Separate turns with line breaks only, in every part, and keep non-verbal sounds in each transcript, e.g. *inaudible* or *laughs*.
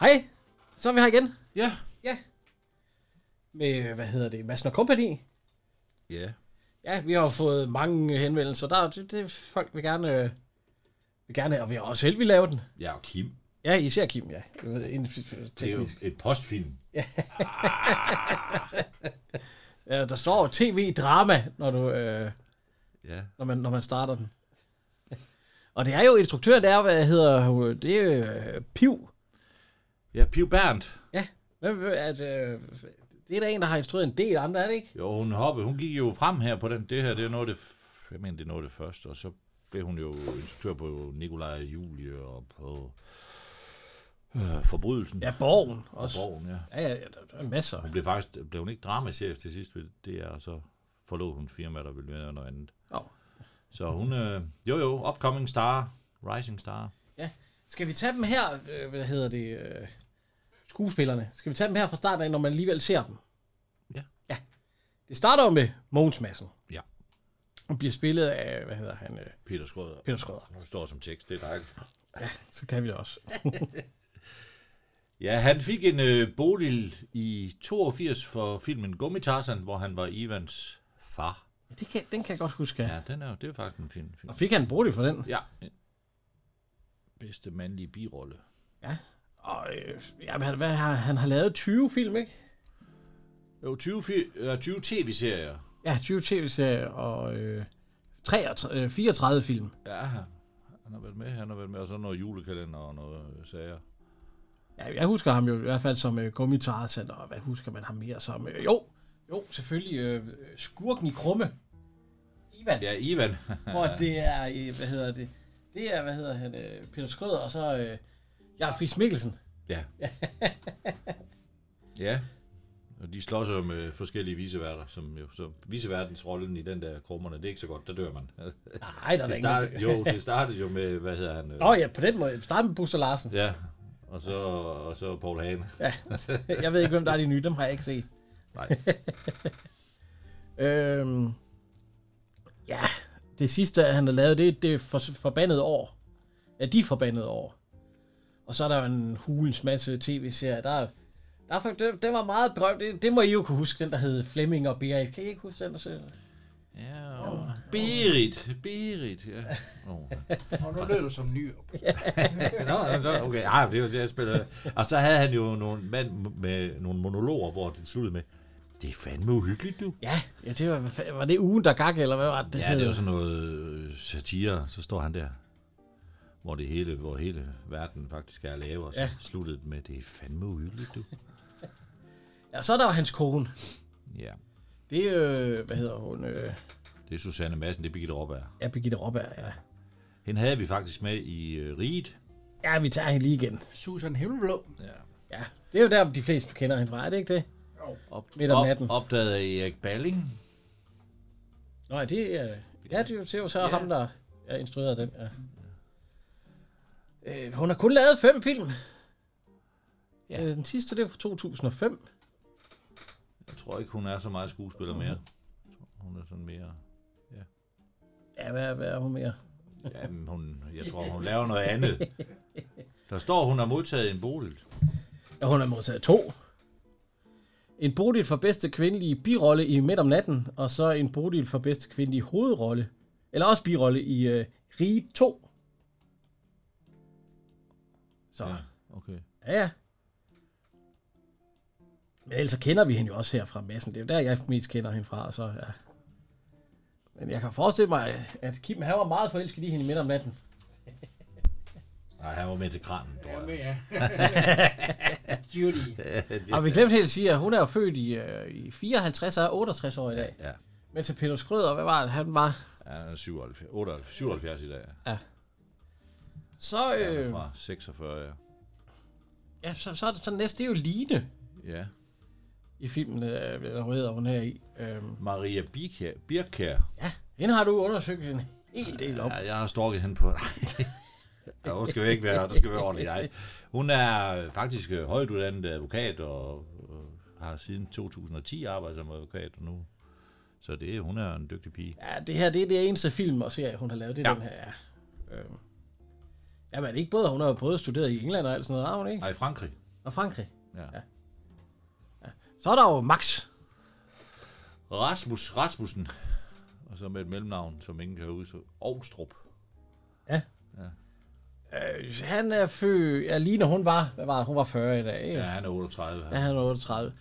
Hej, så er vi her igen.
Ja.
Ja. Med, øh, hvad hedder det, Madsen Company.
Ja.
Ja, vi har jo fået mange øh, henvendelser. Der, er- det, det, folk vil gerne, øh, vil gerne, og vi har også selv vil lave den.
Ja, og Kim.
Ja, især Kim, ja. Jeg ved, inden-
Det er jo
teknisk.
et postfilm.
Ja, der står jo tv-drama, når, du, øh,
Ja.
når, man, når man starter den. Og det er jo instruktøren, der er, hvad hedder, øh, det er øh, Piv.
Ja, Piv Berndt.
Hvem, at, øh, det er der en, der har instrueret en del andre, er det ikke?
Jo, hun hoppede. Hun gik jo frem her på den. Det her, det er noget af det, f- jeg mener, det er noget af det første. Og så blev hun jo instruktør på Nikolaj og Julie og på øh, Forbrydelsen.
Ja, Borgen
og
også.
Borgen, ja.
Ja, ja, der, der er masser.
Hun blev faktisk, blev hun ikke dramachef til sidst ved det, og så forlod hun firma, der ville være noget andet.
Nå. Mhm.
Så hun, øh, jo jo, upcoming star, rising star.
Skal vi tage dem her, øh, hvad hedder det, øh, skuespillerne? Skal vi tage dem her fra starten af, når man alligevel ser dem?
Ja.
Ja. Det starter jo med Mogens Madsen.
Ja.
Han bliver spillet af, hvad hedder han, øh,
Peter Skrøder.
Peter Schrøder.
Hun står som tekst, det er dejligt.
Så kan vi det også.
Ja, han fik en øh, bolig i 82 for filmen Gummitarsan, hvor han var Ivans far.
Ja, det kan, den kan jeg godt huske. Ja.
Ja, den er jo, det er faktisk en fin film.
Og fik han bolig for den?
Ja. Bedste mandlige birolle.
Og øh, ja, men han, hvad, har, han har lavet 20 film, ikke?
Jo, 20, fi- øh, 20 tv-serier.
Ja, 20 tv-serier og øh, 33, øh, 34 film.
Ja, han har været med, han har været med, og så noget julekalender og noget øh, sager.
Ja, jeg husker ham jo i hvert fald som øh, Gummi Tarzan, og hvad husker man ham mere som? Øh, jo, jo, selvfølgelig øh, Skurken i Krumme. Ivan,
Ja, Ivan.
hvor det er, øh, hvad hedder det? Det er, hvad hedder han, øh, Peter Skrøder, og så øh, Jarl Friis Mikkelsen.
ja. ja. Og de slås jo med forskellige viseværter, som jo, så viseværtens rollen i den der krummerne, det er ikke så godt, der dør man.
Nej, der er
Det
da
startede,
ingen. *laughs*
jo, det startede jo med, hvad hedder han? øh,
Nå ja, på den måde. Vi starter med Buster Larsen. *laughs*
Ja, og så, og så Paul Hagen.
Jeg ved ikke, hvem der er de nye, dem har jeg ikke set.
Nej.
Øhm, ja, det sidste, han har lavet, det er det for, forbandede år. Ja, de forbandede år. Og så er der jo en hulens masse tv-serier. Der, er- der er, fakt- det, det var meget berømt. Det, det, må I jo kunne huske, den der hed Flemming og Berit. Kan I ikke huske den? der serie?
*laughs* Ja, og Berit. Berit, ja. Oh.
*laughs* Og nu lød du som ny.
*laughs*
Nå, så, okay, ja, det var det, jeg spillede. Og så havde han jo nogle mand med nogle monologer, hvor det sluttede med, det er fandme uhyggeligt, du.
Ja, ja det var, hvad fa- var det ugen, der gak, eller hvad var det?
Ja, det var sådan noget øh, satire, så står han der, hvor det hele, hvor hele verden faktisk er lavet, og så
Ja.
ja. sluttede det med, det er fandme uhyggeligt, du.
ja, så er der jo hans kone.
Ja,
Det er øh, hvad hedder hun? Øh,
det er Susanne Madsen, det er Birgitte Råberg.
ja, Birgitte Råberg, ja.
Hende havde vi faktisk med i øh, Riget.
Ja, vi tager hende lige igen.
Susan Himmelblå.
Ja.
Ja, det er jo der, de fleste kender hende fra, er det ikke det?
Op,
Midt om natten.
Op, opdagede af Erik Balling.
Nå, ja, det er... Ja, det er jo- det er jo så ja. ham, der ja, instruerede den, ja. Øh, hun har kun lavet fem film. Ja.
Ja.
Øh, den sidste, det var fra 2005.
Jeg tror ikke, hun er så meget skuespiller mere. Jeg tror, Hun er sådan mere...
Ja, hvad, hvad er hun mere?
Jamen, hun, jeg tror, hun laver noget andet. Der står, hun har modtaget en bolig.
Ja, hun har modtaget to. En Bodil for bedste kvindelige birolle i Midt om natten, og så en Bodil for bedste kvindelige hovedrolle, eller også birolle i øh, Rige 2. Så, ja,
okay.
ja. ja. Men ellers så kender vi hende jo også her fra massen. Det er jo der, jeg mest kender hende fra, så ja. Men jeg kan forestille mig, at Kim han var meget forelsket i hende i Midt om natten.
Nej, han var med til kranen, tror
Ja,
*laughs* jeg.
men ja. Judy. *laughs*
Og vi glemte helt at sige, at hun er jo født i, øh, i 54 og er 68 år i dag.
Ja,
Men til Peter Skrøder, hvad var det, han var?
Han er 77, 78, 77 i dag.
Så,
Han er
øh,
fra 46, ja.
ja, så, så, er det så næste, det er jo Line
ja.
i filmen, øh, eller hvad hedder hun her i. Øh,
Maria Birkær. Birkær.
ja, hende har du undersøgt en hel del om.
Ja, jeg har stalket hende på dig. *laughs* Ja, hun skal jo ikke være, der skal være ordentligt ej. Hun er faktisk øh, højtuddannet advokat og, og har siden 2010 arbejdet som advokat og nu. Så det, er- hun er en dygtig pige.
Ja, det her, det er det eneste film og serie, hun har lavet, det er
Ja.
den her, ja. Øh, jamen, er det ikke både, at hun har jo både studeret i England og alt sådan noget, har hun ikke?
Nej, i Frankrig.
Og Frankrig.
Ja.
Ja. Så er der jo Max.
Rasmus Rasmussen. Og så med et mellemnavn, som ingen kan huske. Aarstrup.
Øh, han er født... Ja, lige når hun var... Hvad var det? Hun var 40 i dag, ikke?
Ja,
Ja.
han er 38.
ja han er 38.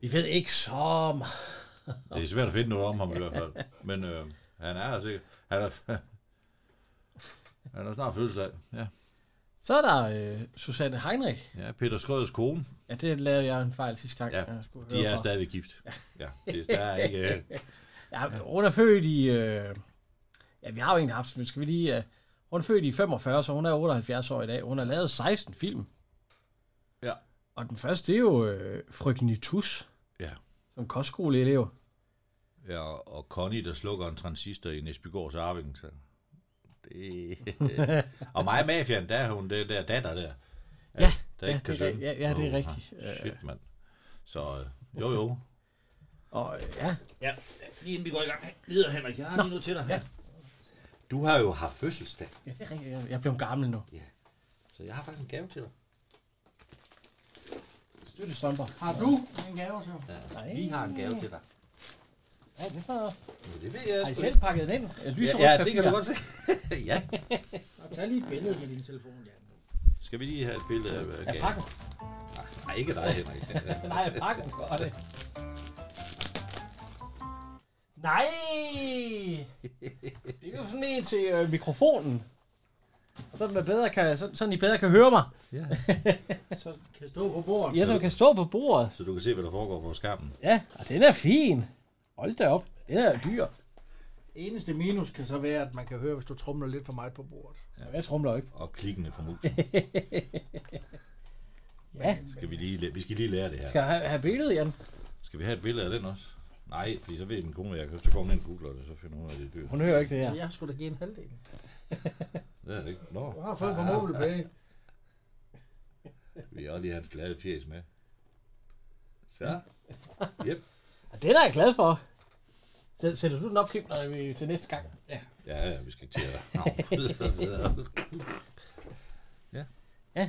Vi ved ikke så meget.
Det er svært at finde noget om ham i hvert fald. Men øh, han er altså ikke... Han er, *laughs* han er snart fødselsdag. Ja.
Så er der øh, Susanne Heinrich.
ja, Peter Skrøders kone.
Ja, det lavede jeg en fejl sidste gang.
Ja,
jeg skulle
De
høre
er
fra.
stadigvæk gift. Ja, det, der er ikke... Øh,
Ja, hun er født i... Øh, ja, vi har jo egentlig haft... Men skal vi lige... Øh, hun er født i 45, så hun er 78 år i dag. Hun har lavet 16 film.
Ja.
Og den første, det er jo øh, Frøken Nitus.
Ja.
Som kostskoleelev.
ja, og Connie, der slukker en transistor i Nesbygårds Arving. Så. *laughs* Det... og mig og Mafian, der er hun det der datter der.
Ja, ja,
der ikke kan
det er
synge.
ri- ja, ja, det er
Åh,
rigtigt.
ah, Shit, mand. Så øh, jo, jo.
Og øh, ja,
Ja, lige inden vi går i gang. Lider Henrik, jeg har lige noget til dig. Ja. Du har jo haft fødselsdag,
ja, det er rigtigt. Jeg- Jeg er blevet gammel nu.
så jeg har faktisk en gave til dig.
Støttestomper.
Har du en gave til?
Ja,
Nej.
vi har en gave til dig.
Ja, det var...
Men det ved jeg
Har I
sgu
selv
ikke.
pakket den ind?
Ja,
Lyserød
ja, det
papir.
kan du godt se. *laughs* ja.
Og tag lige et billede med din telefon, Jan.
Skal vi lige have et billede af øh,
Jeg
gaven?
pakker.
Nej, ikke dig, Henrik.
Nej, jeg pakker for det. Nej! Det er jo sådan en til øh, mikrofonen. Og så den bedre kan, så, sådan I bedre kan høre mig.
ja.
Så kan stå på bordet.
Jeg som kan stå på bordet.
*laughs* Så du kan se, hvad der foregår på skærmen.
Ja, og den er fin. Hold da op. Den er dyr.
Eneste minus kan så være, at man kan høre, hvis du trumler lidt for meget på bordet.
Jamen, Jeg trumler jo ikke.
Og klikkene fra musen.
Ja,
Skal vi, lige, læ- vi skal lige lære det her.
skal jeg have, have billedet, Jan?
Skal vi have et billede af den også? Nej, fordi så ved min kone, hvad jeg kan. Så går hun ind og googler det, så finder hun ud af det er dyrt.
Hun hører ikke det her.
Jeg skulle da give en halvdel.
Det er det ikke. Nå,
Du har fået på mobile pay.
vi har også lige hans glade fjes med. Så. Yep.
Og den er jeg glad for. Sæt- Sætter du den op, Kim, når vi til næste gang?
Ja, ja, vi skal til
*laughs*
at affryde sig sidder.
Ja,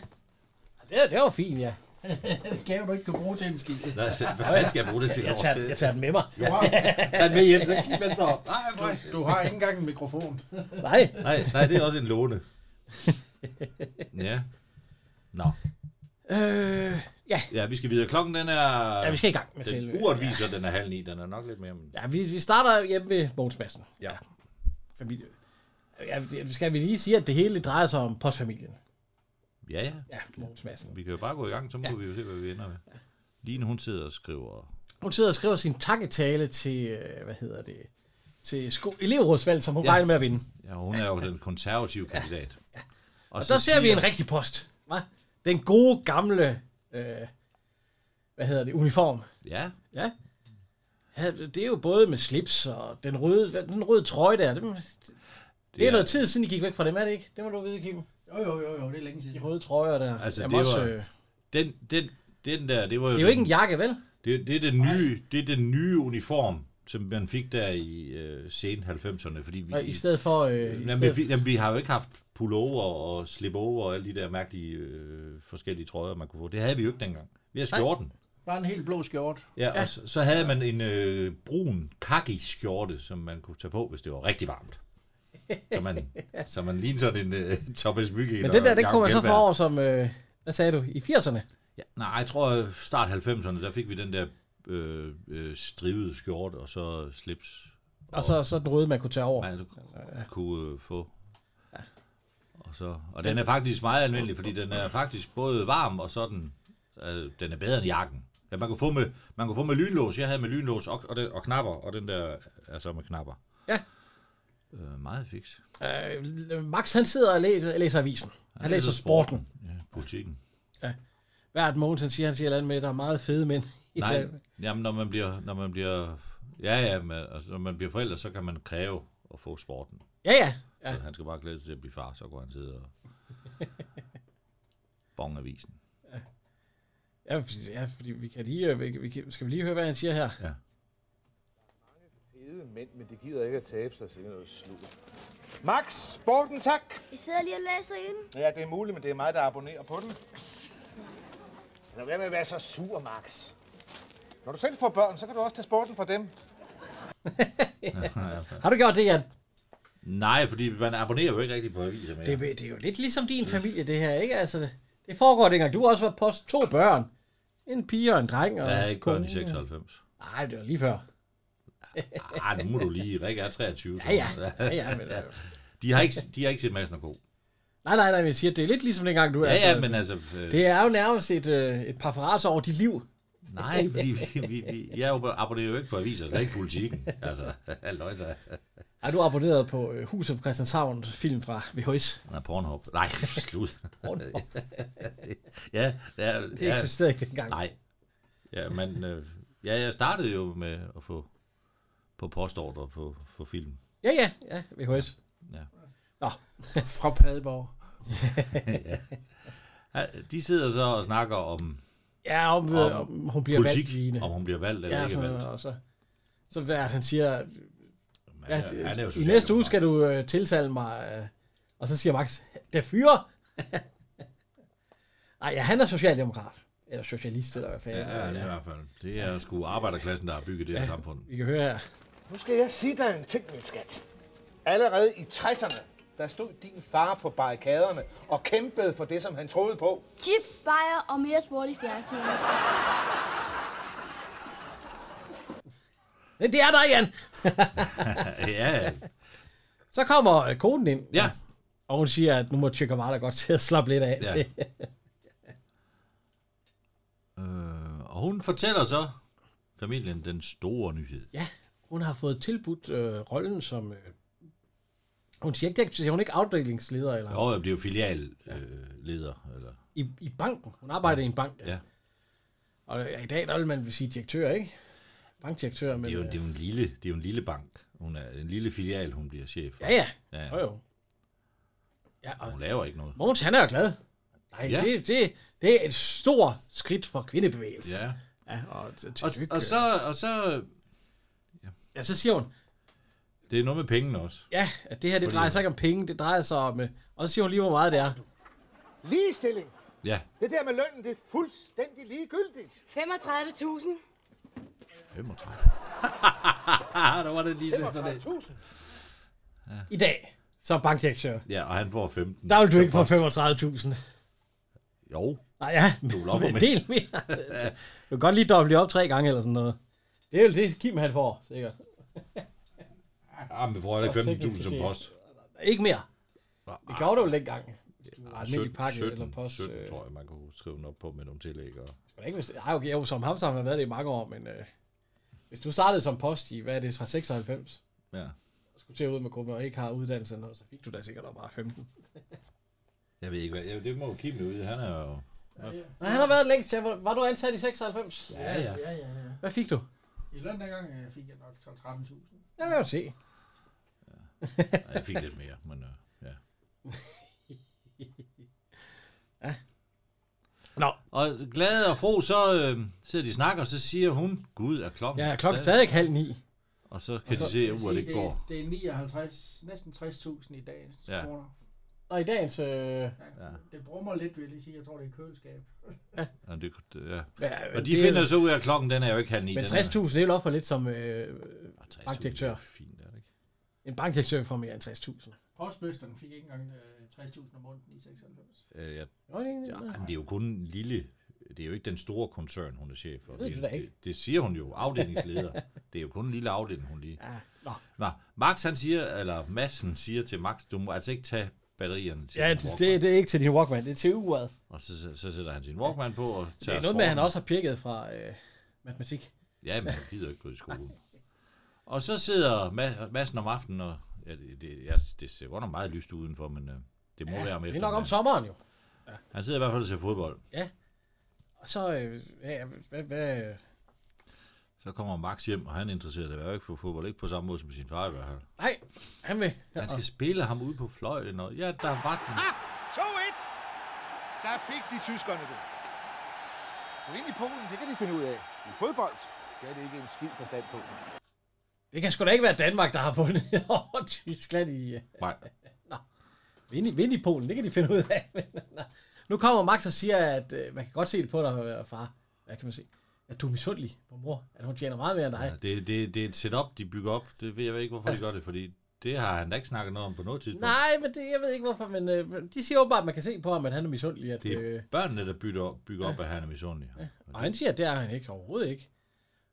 Det, er- det var fint, ja.
Den gave, du ikke kan bruge til en skid.
Nej, hvad fanden skal jeg bruge det til?
Jeg tager, jeg tager den med mig.
Du har,
Tag den med hjem, så kig venstre op. Nej, nej.
du har ikke engang en mikrofon.
Nej,
Nej, nej, det er også en låne. Ja. Nå.
øh,
Ja, vi skal videre. Klokken den er...
ja, vi skal i gang med selve.
Den uret viser, den er halv ni. Den er nok lidt mere... men-
Ja, vi, vi starter hjemme ved Mogens Madsen.
Ja.
Familie. Ja, det- skal vi lige sige, at det hele drejer sig om postfamilien?
Ja, ja.
Ja, Mogens Madsen.
Vi kan jo bare gå i gang, så må ja. vi jo se, hvad vi ender med. Line, hun sidder og skriver...
Hun sidder og skriver sin takketale til, øh, hvad hedder det, til sko- elevrådsvalg, som hun ja.
Ja.
regner med at vinde.
Ja, hun er jo den konservative kandidat.
Og så, ser vi en rigtig post. Hva? Den gode gamle, øh, hvad hedder det, uniform.
Ja,
Ja. ja. Det er jo både med slips og den røde, den røde trøje der. Dem, det, det er
er-
noget tid siden, I gik væk fra dem, er det ikke? Det må du vide, Kim.
Jo, jo, jo, jo, det er længe
De
siden.
røde trøjer der.
Altså,
Jamen
det var-
øh,
den, den, den der, det var jo...
det er jo ikke en jakke, vel?
Det, det, er den nye, det er den nye uniform, som man fik der i øh, sen 90'erne, fordi vi,
Og I stedet for... Øh, i
jamen,
stedet,
vi, jamen, vi har jo ikke haft pullover og slipover og alle de der mærkelige øh, forskellige trøjer, man kunne få. Det havde vi jo ikke dengang. Vi havde
Nej.
skjorten.
Bare en helt blå skjort.
Ja, og så, så havde man en øh, brun kaki skjorte, som man kunne tage på, hvis det var rigtig varmt. Så man, så man lignede sådan en øh, Thomas Mygind.
men
og
den der, den
Jacob
kom man så
Kjeldberg.
for over som... Øh, hvad sagde du? I 80'erne?
Ja, nej, jeg tror øh, start 90'erne, der fik vi den der øh, øh, strivede skjorte og så slips.
Og så, så den røde, man kunne tage over.
man kunne øh, få. Og, så, og den er faktisk meget almindelig, fordi den er faktisk både varm og sådan. Øh, den er bedre end jakken. Ja, man kunne få med, man kunne få med lynlås. Jeg havde med lynlås og, og, den, og knapper, og den der er så med knapper.
Ja.
Øh, meget fix.
Øh, Max han sidder og læser, læser avisen. Han læser sporten.
Ja, politikken.
Hvert morgen han siger han siger et eller andet med, at der er meget fede mænd. i
Nej,
Danmark.
jamen, når man bliver, når man bliver, ja, ja, men, altså, når man bliver forældre, så kan man kræve at få sporten.
Ja, ja.
Ja. Så han skal bare glæde sig til at blive far, så går han sidde
*laughs*
og bong avisen.
Ja, fordi, ja, fordi vi kan lige, øh, vi, vi, kan- skal vi lige høre, hvad han siger her?
Fede mænd, men de gider ikke at tabe sig, sikkert noget sludder. Max, sporten tak.
Jeg sidder lige og læser ind.
Ja, det er muligt, men det er mig, der abonnerer på den. Lad være med at være så sur, Max. Når du selv får børn, så kan du også tage sporten fra dem.
Har du gjort det, Jan?
Nej, fordi man abonnerer jo ikke rigtig på aviser mere.
Det, er- det er jo lidt ligesom din familie, det her, ikke? Altså, det- det foregår dengang. Du har også været post to børn. En pige og en dreng. Og
jeg havde ikke børn i
kone.
96.
Nej, det var lige før.
Ah, nu må du lige, Rikke er 23. så-
Ja, *laughs* ja. ja, ja men, øh,
De har ikke, de har ikke set Madsen og Co.
nej, nej, nej, men jeg siger, det er lidt ligesom dengang, du
Ja,
altså,
ja, men altså... øh,
Det er jo nærmest et, øh, et paraphrase over dit liv.
Nej, fordi vi, vi, vi, jeg er jo- abonnerer jo ikke på aviser, slet ikke politikken. Altså, halløj, så.
Er du abonneret på øh, Huset på Christianshavn film fra VHS?
Nej, Pornhub. Nej, slut.
Pornhub.
ja, det er,
Det ja.
ja,
eksisterede ikke dengang.
nej. Ja, men øh, ja, jeg startede jo med at få på postordre på, på film.
Ja, ja, ja, VHS.
*laughs* Fra Padborg.
Ja, de sidder så og snakker om
Ja, om,
Om
øh, om hun bliver valgt
politik,
Line.
om hun bliver valgt eller
Ja,
ja, ikke
sådan
valgt.
noget, og så, så hvad er det, han siger,
Men
Ja,
han er- han er jo
I
socialdemokrat.
næste uge skal du øh, tiltale mig. Øh, og så siger Max, det
*laughs*
fyrer. Nej, ja, han er socialdemokrat. Eller socialist, eller hvad fanden.
Ja, ja, det er i hvert fald. Det er sgu arbejderklassen, der har bygget det her samfund.
Vi kan høre her.
Nu skal jeg sige dig en ting, min skat. Allerede i 60'erne, der stod din far på barrikaderne og kæmpede for det, som han troede på.
Chips, bajer og mere sport i fjernsynet.
Men det er dig, Jan!
Ja,
Så kommer øh, konen ind,
ja.
og hun siger, at nu må Che Guevara godt til at slappe lidt af. *laughs*
Ja. øh, og hun fortæller så familien den store nyhed.
ja, hun har fået tilbudt øh, rollen som... Øh, hun siger ikke, det, siger hun ikke afdelingsleder eller
Jo, jeg bliver jo filialleder. Eller,
i, i banken. Hun arbejder ja. i en bank.
ja.
Og øh, i dag, der vil man vil sige direktør, ikke? Bankdirektør, men...
det, er jo, det,
øh,
er jo en lille, det er jo en lille bank. Hun er en lille filial, hun bliver chef for.
Ja, ja.
Ja,
Jo, jo. Ja,
og
og
Hun laver ikke noget.
Mogens, han er jo glad. Nej, ja.
Ja.
det, det, det er et stort skridt for kvindebevægelsen. Ja.
Ja.
Ja, og, til, til
Og,
lykke.
og, så, og så...
ja, så siger hun,
Det er noget med pengene også.
ja, at det her, det drejer sig ikke om penge, det drejer sig om... øh, Og så siger hun lige, hvor meget det er.
Ligestilling.
Ja.
Det der med lønnen, det er fuldstændig ligegyldigt.
35.000.
35. *laughs* der var det lige sådan lidt.
35.000.
I dag, som bankdirektør.
Ja, og han får 15.
Der vil du ikke få
Så-
35.000.
Jo,
Nej, ja, *laughs* men,
vil op
men
om
en
det.
del mere. Du kan godt lige doble op tre gange eller sådan noget. Det er jo det, Kim han får, sikkert.
ah, men vi får heller
Og
ikke 15.000 som
teknisk
post.
Ikke mere. Det gjorde du jo dengang. Hvis du var
Ah,
almindelig pakke
17,
eller post.
17,
øh,
tror jeg, man kunne skrive den op på med nogle tillæg. Og...
Men ikke hvis... Ej, okay, jo, som ham så har man været det i mange år, men... Øh, hvis du startede som post i, hvad er det, fra 96,
Ja.
og skulle til at ud med gruppen og ikke har uddannelse eller noget, så fik du da sikkert også bare 15.
Jeg ved ikke, hvad... Ja, det må jo Kim ud. Han er jo...
Nej, han har været længst. Ja, var- var du ansat i 96? Ja.
Ja, ja.
Ja, ja, ja.
Hvad fik du?
I løn dengang øh, fik jeg nok 12-13.000.
Ja, jeg kan jo se.
Ej, Jeg fik lidt mere, men øh,
*laughs*
ja.
Nå,
Og glade og fro, så øh, sidder de og snakker, og så siger hun, Gud, er klokken
ja, klokken er stadig halv ni.
Og så kan de se, at uret ikke går.
Det er 59, næsten 60.000 i dag.
Ja.
Ja. Kroner.
Og i dagens... Øh,
Ja. Det brummer lidt, vil jeg lige sige. Jeg tror, det er køleskab.
Ja, det, ja.
ja,
Og de
Øh, det er-
finder så ud af, at klokken den er jo ikke halv ni.
Men
den
60.000, det er jo for lidt som øh,
er, 60
bankdirektør.
Det er fint, er det ikke?
en bankdirektør får mere end 60.000.
Postmesteren fik ikke engang øh, 60.000 om måneden i 96.
Øh, ja,
Nå, det er egentlig-
ja, men det er jo kun en lille... Det er jo ikke den store koncern, hun er chef for.
Det ved du da ikke.
Det, det siger hun jo,
*laughs*
afdelingsleder. det er jo kun en lille afdeling, hun lige...
Ja, nå.
Nå, Max han siger, eller Madsen siger til Max, du må altså ikke tage batterierne til
Ja,
sin
det,
Walkman.
det, det er ikke til din Walkman, det er til uret.
Og så, så, så sætter han sin Walkman på og
Det
tager
er noget med, at han
sporten.
også har pirket fra øh, matematik.
Ja, men han gider jo ikke gå i skole. Og så sidder Ma- Madsen om aftenen, og ja, det, det, jeg, det ser godt nok meget lyst udenfor, men øh, det må ja, være om
Det er nok om
eftermiddagen.
sommeren jo.
Han sidder i hvert fald og ser fodbold.
Og så, øh, ja, hvad, hvad, øh,
Så kommer Max hjem, og han interesserer sig jo ikke for fodbold, ikke på samme måde som sin far i hvert fald.
nej, han vil.
Han skal spille ham ude på fløjen, og ja, der var den.
2-1. Der fik de tyskerne det. Gå ind i Polen, det kan de finde ud af. I fodbold, det er det ikke en skid forstand på.
Det kan sgu da ikke være Danmark, der har vundet *laughs* over Tyskland i... Øh,
Nej,
Vind i, vind i Polen, det kan de finde ud af. *laughs* Men, nå. nu kommer Max og siger, at øh, man kan godt se det på dig, øh, far. Hvad kan man se? At du er misundelig på mor. At hun tjener meget mere end dig.
ja, det, det, det er et setup, de bygger op. Det ved jeg ikke, hvorfor de gør det, fordi det har han da ikke snakket noget om på noget tidspunkt.
Nej, men det, jeg ved ikke hvorfor, men øh, men de siger åbenbart, at man kan se på ham, at han er misundelig. At,
Det
øh,
er børnene, der bygger op, bygger op at han er misundelig.
og han siger, at det er han ikke overhovedet ikke.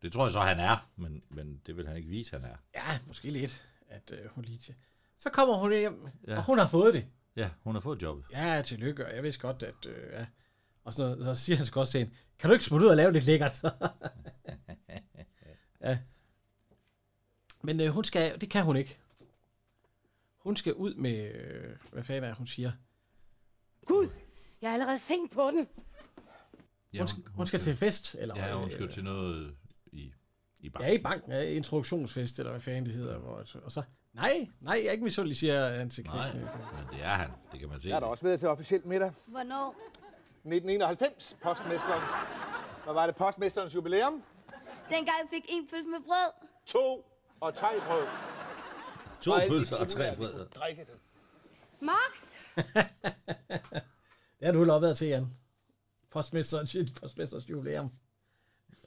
Det tror jeg så, han er, men, men det vil han ikke vise, han er.
Ja, måske lidt, at øh, hun lige tje- Så kommer hun hjem, ja.
Ja.
og hun har fået det.
Ja, hun har fået jobbet.
Ja, tillykke, og jeg vidste godt, at... Øh, ja. Og så, så siger han sgu også til hende, kan du ikke smutte ud og lave lidt lækkert? *laughs* ja. Men øh, hun skal, det kan hun ikke. Hun skal ud med, øh, hvad fanden er det, hun siger?
Gud, jeg er allerede sent på den.
Ja,
Hun, skal, hun skal til fest, eller
Ja, hun skal
øh,
til noget i, i banken.
Ja, i banken. Ja, introduktionsfest, eller hvad fanden det hedder. Hvor, og så, nej, nej, jeg er ikke misundelig, siger han til
Nej,
Knæk.
men det er han. Det kan man se.
Jeg er da også ved til officiel middag.
Hvornår?
1991, postmesteren. Hvad var det, postmesterens jubilæum?
Dengang jeg fik en pølse med brød.
To og teglbrød.
To pølser og tre brød.
Drikke det.
Max!
Det har du vel opdaget til, Jan. Postmesterens, postmesterens jubilæum.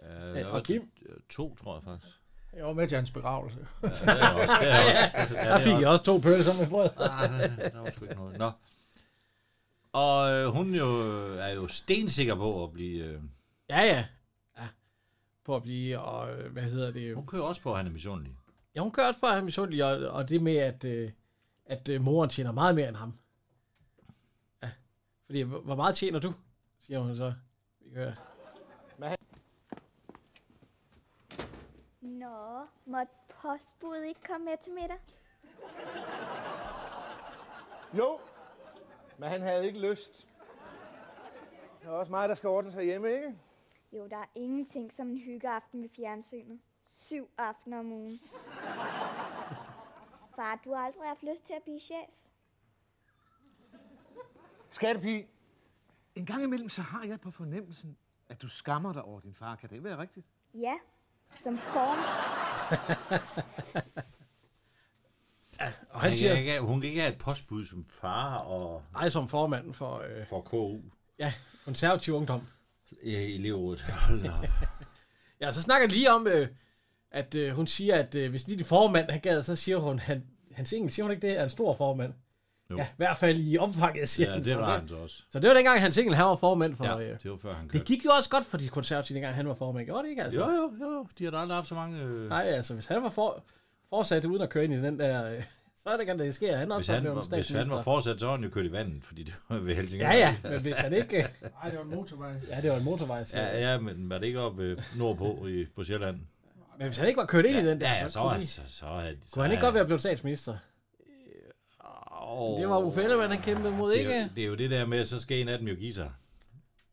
Ja,
og Kim?
To, tror jeg faktisk.
Jeg var med til hans begravelse.
Ja, det er også. Det er også. Ja,
Der fik jeg også to pølser med brød.
Ah, der- der var sgu ikke noget. Nå. Og øh, hun jo, er jo stensikker på at blive... Øh,
Ja, ja. ja. På at blive, og øh, hvad hedder det?
hun kører også på, at han er misundelig.
Ja, hun kørte for ham i Sundli, og, og det med, at, øh, at øh, moren tjener meget mere end ham. Ja. Fordi, hvor hvor meget tjener du? Siger hun så. Vi kan høre.
Nå, måtte postbud ikke komme med til middag?
Jo, men han havde ikke lyst. Der er også mig, der skal ordne sig hjemme, ikke?
Jo, der er ingenting som en hyggeaften med fjernsynet. Syv aftener om ugen. Far, du har aldrig haft lyst til at blive chef.
Skattepige. En gang imellem, så har jeg på fornemmelsen, at du skammer dig over din far. Kan det være rigtigt?
Ja, som form.
Og
Han
han
siger,
siger,
kan ikke, have- hun kan ikke have et postbud som far og
nej, som formanden for øh,
for KU.
ja, konservativ ungdom.
Ja, elevrådet. *laughs* Hold da op.
Ja, så snakker de lige om, øh, at øh, hun siger, at øh, hvis lige din formand han gad, så siger hun, han, hans engel, siger hun ikke det, er en stor formand? Jo.
Jo.
Ja, i hvert fald i omfanget, siger
Ja,
han
det
så.
var han så også.
Så det var dengang, hans engel, han var formand for... Ja.
Ja,
Øh,
det var før han
det
kørte.
gik jo også godt for de konservative, dengang han var formand, gjorde det ikke? Altså?
Jo, jo, jo. De har da aldrig haft så mange... Øh...
Nej, altså, hvis han var for, fortsat uden at køre ind i den der... Øh, så er det kan det sker. Han er
Hvis
også
han,
blevet
var, hvis han var fortsat, så var han jo kørt i vandet, fordi det var ved Helsingør.
Ja, ja, men hvis han ikke... øh,
Nej, det var en motorvej.
Ja, det var en motorvej, så.
Ja, ja, men var det ikke oppe øh, nordpå i, på Sjælland?
Men hvis han ikke var kørt ind i den der,
Ja, ja, så,
så, kunne,
er-
de,
så, så, er- så,
kunne han ikke godt være blevet statsminister.
Oh,
Det var Uffe Ellemann, han kæmpede mod,
det
ikke?
er, jo, det er jo det der med, at så skal en af dem jo give sig.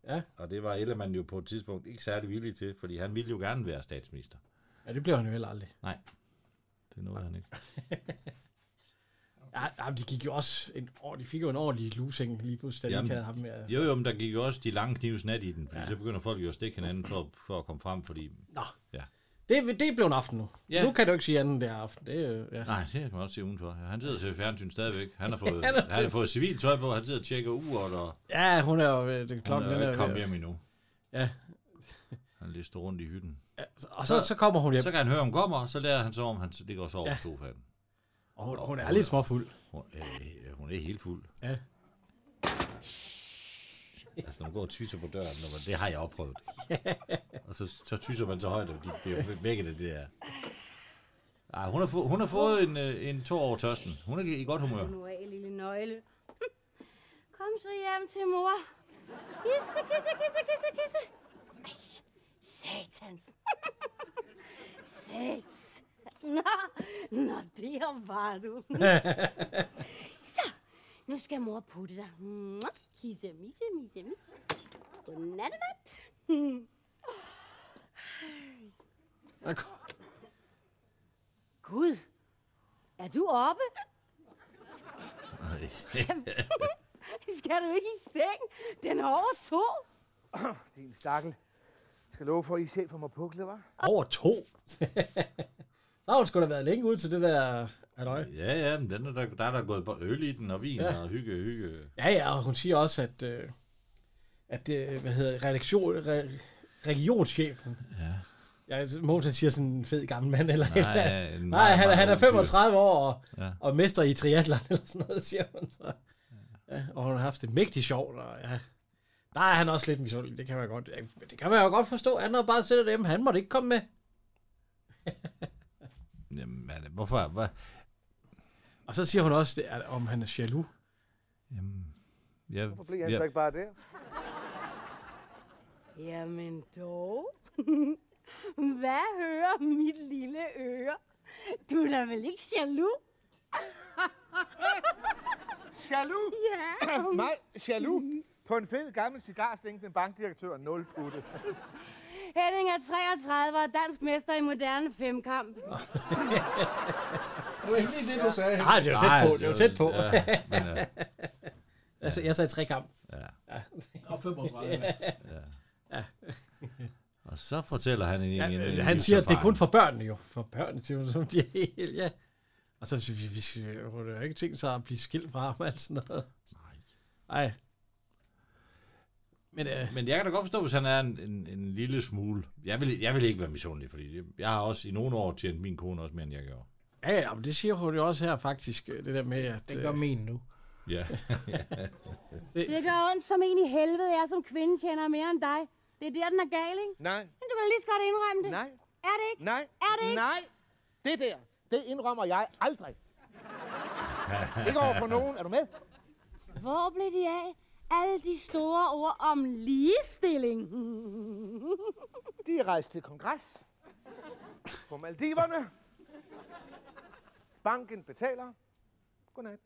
Ja.
Og det var Ellemann jo på et tidspunkt ikke særlig villig til, fordi han ville jo gerne være statsminister.
Ja, det blev han jo heller aldrig.
Nej, det nåede han ikke.
Ja, ja, men de gik jo også en år, de fik jo en ordentlig lusing lige pludselig, da de
Jamen,
ikke havde ham med. Altså.
Jo, jo, men der gik jo også de lange knives nat i den, fordi ja. så begynder folk jo at stikke hinanden for, for at komme frem, fordi...
Nå,
Ja.
det, det er blevet en aften nu.
Ja.
Nu kan du ikke sige andet der aften. Det, er jo- ja.
Nej, det kan man også se udenfor. Han sidder og ser fjernsyn stadigvæk. *laughs* Han har fået,
Han har
han har fået civilt tøj på, han sidder og tjekker uret, og
ja, hun er jo... øh, Det,
Klokken
klokken,
han er jo
den
ikke kommet
ved-
hjem endnu.
Ja.
*laughs* Han lister rundt i hytten.
Og så, så kommer hun hjem,
Så kan han høre, hun kommer, så lærer han så, om han ligger og sover ja.
Ja.
på sofaen.
og hun, hun er lidt småfuld.
Hun, øh, hun er helt fuld.
Ja.
Altså, når man går og tyser på døren, når man, det har jeg
*laughs*
opprøvet. og så, så tyser man så højt, fordi det er jo vækket det der. Ej, hun har, få, hun har fået en, øh, en tår over tørsten. Hun er i godt humør.
Nu af, lille nøgle. *laughs* Kom så hjem til mor. Kisse, kisse, kisse, kisse, kisse. Ej, satans. *laughs* Sats. Nå, nå, der var du. så, nu skal mor putte dig. Mwah. Kisse, misse, misse, misse. Godnat, nat.
Der kom-
Gud, er du oppe? *laughs* Skal du ikke i seng? Den er over to.
Det er en stakkel. Jeg skal love for, at I selv får mig puklet, hva'?
Over to. der har hun sgu da været længe ud til det der... Halløj.
Ja, ja, men den er der, der er der gået på øl i den, og vin ja. og hygge,
*laughs*
hygge.
Ja, ja, og hun siger også, at, øh, at det, hvad hedder, redaktion, re, regionschefen. Ja. Ja, Mogens siger sådan en fed gammel mand eller et eller andet.
Nej, en
Nej,
meget,
han, er-
meget
han er
ung fyr.
35 år og, ja.
Ja.
og mester i triathlon *laughs* eller sådan noget, siger hun så. Ja, og hun har haft det mægtigt sjovt, og ja. Der er han også lidt misundelig, det kan man godt. ja, Det kan man jo godt forstå, han har bare sættet dem, han måtte ikke komme med.
Jamen, er det- hvorfor? Hvad?
Og så siger hun også, det er, om han er jaloux.
Jamen, jeg,
Hvorfor bliver han
jeg,
så ikke bare der?
Jamen dog. *laughs* Hvad hører mit lille øre? Du er da vel ikke jaloux?
Jaloux!
Ja.
Nej, jaloux! På en fed gammel cigar stinkende bankdirektør. Nul putte.
Henning er 33 og dansk mester i moderne femkamp.
Det var egentlig det, du sagde.
Nej, det var tæt på, det var tæt på.
Ja, men, øh,
*laughs* Altså, jeg sagde tre kamp.
Og 35.
og så fortæller han en,
Ja,
en, en
øh, han
livserfaring.
siger, at det er kun for børnene jo. For børnene, siger hun, som bliver helt, ja. Og så siger vi, vi skal- hun har jo ikke tænkt sig at blive skilt fra ham, altså noget. Nej. Nej. Men øh,
Men jeg kan da godt forstå, hvis han er en, en, en lille smule... Jeg vil, jeg vil ikke være misundelig, fordi det- jeg har også i nogle år tjent min kone også mere, end jeg gjorde.
ja, ja, men det siger hun jo også her faktisk, øh, det der med, at...
Det gør
Øh,
min nu.
*laughs*
Ja,
Det gør ondt som en i helvede, jeg som kvinde tjener mere end dig. Det er der, den er gal, ikke?
Nej,
Men du kan lige så godt indrømme det.
nej,
Er det ikke?
nej.
Er det ikke?
Nej, det der, det indrømmer jeg aldrig. ikke over for nogen. Er du med?
Hvor blev de af? Alle de store ord om *laughs* ligestilling.
De er rejst til kongres på Maldiverne. Banken betaler. Godnat.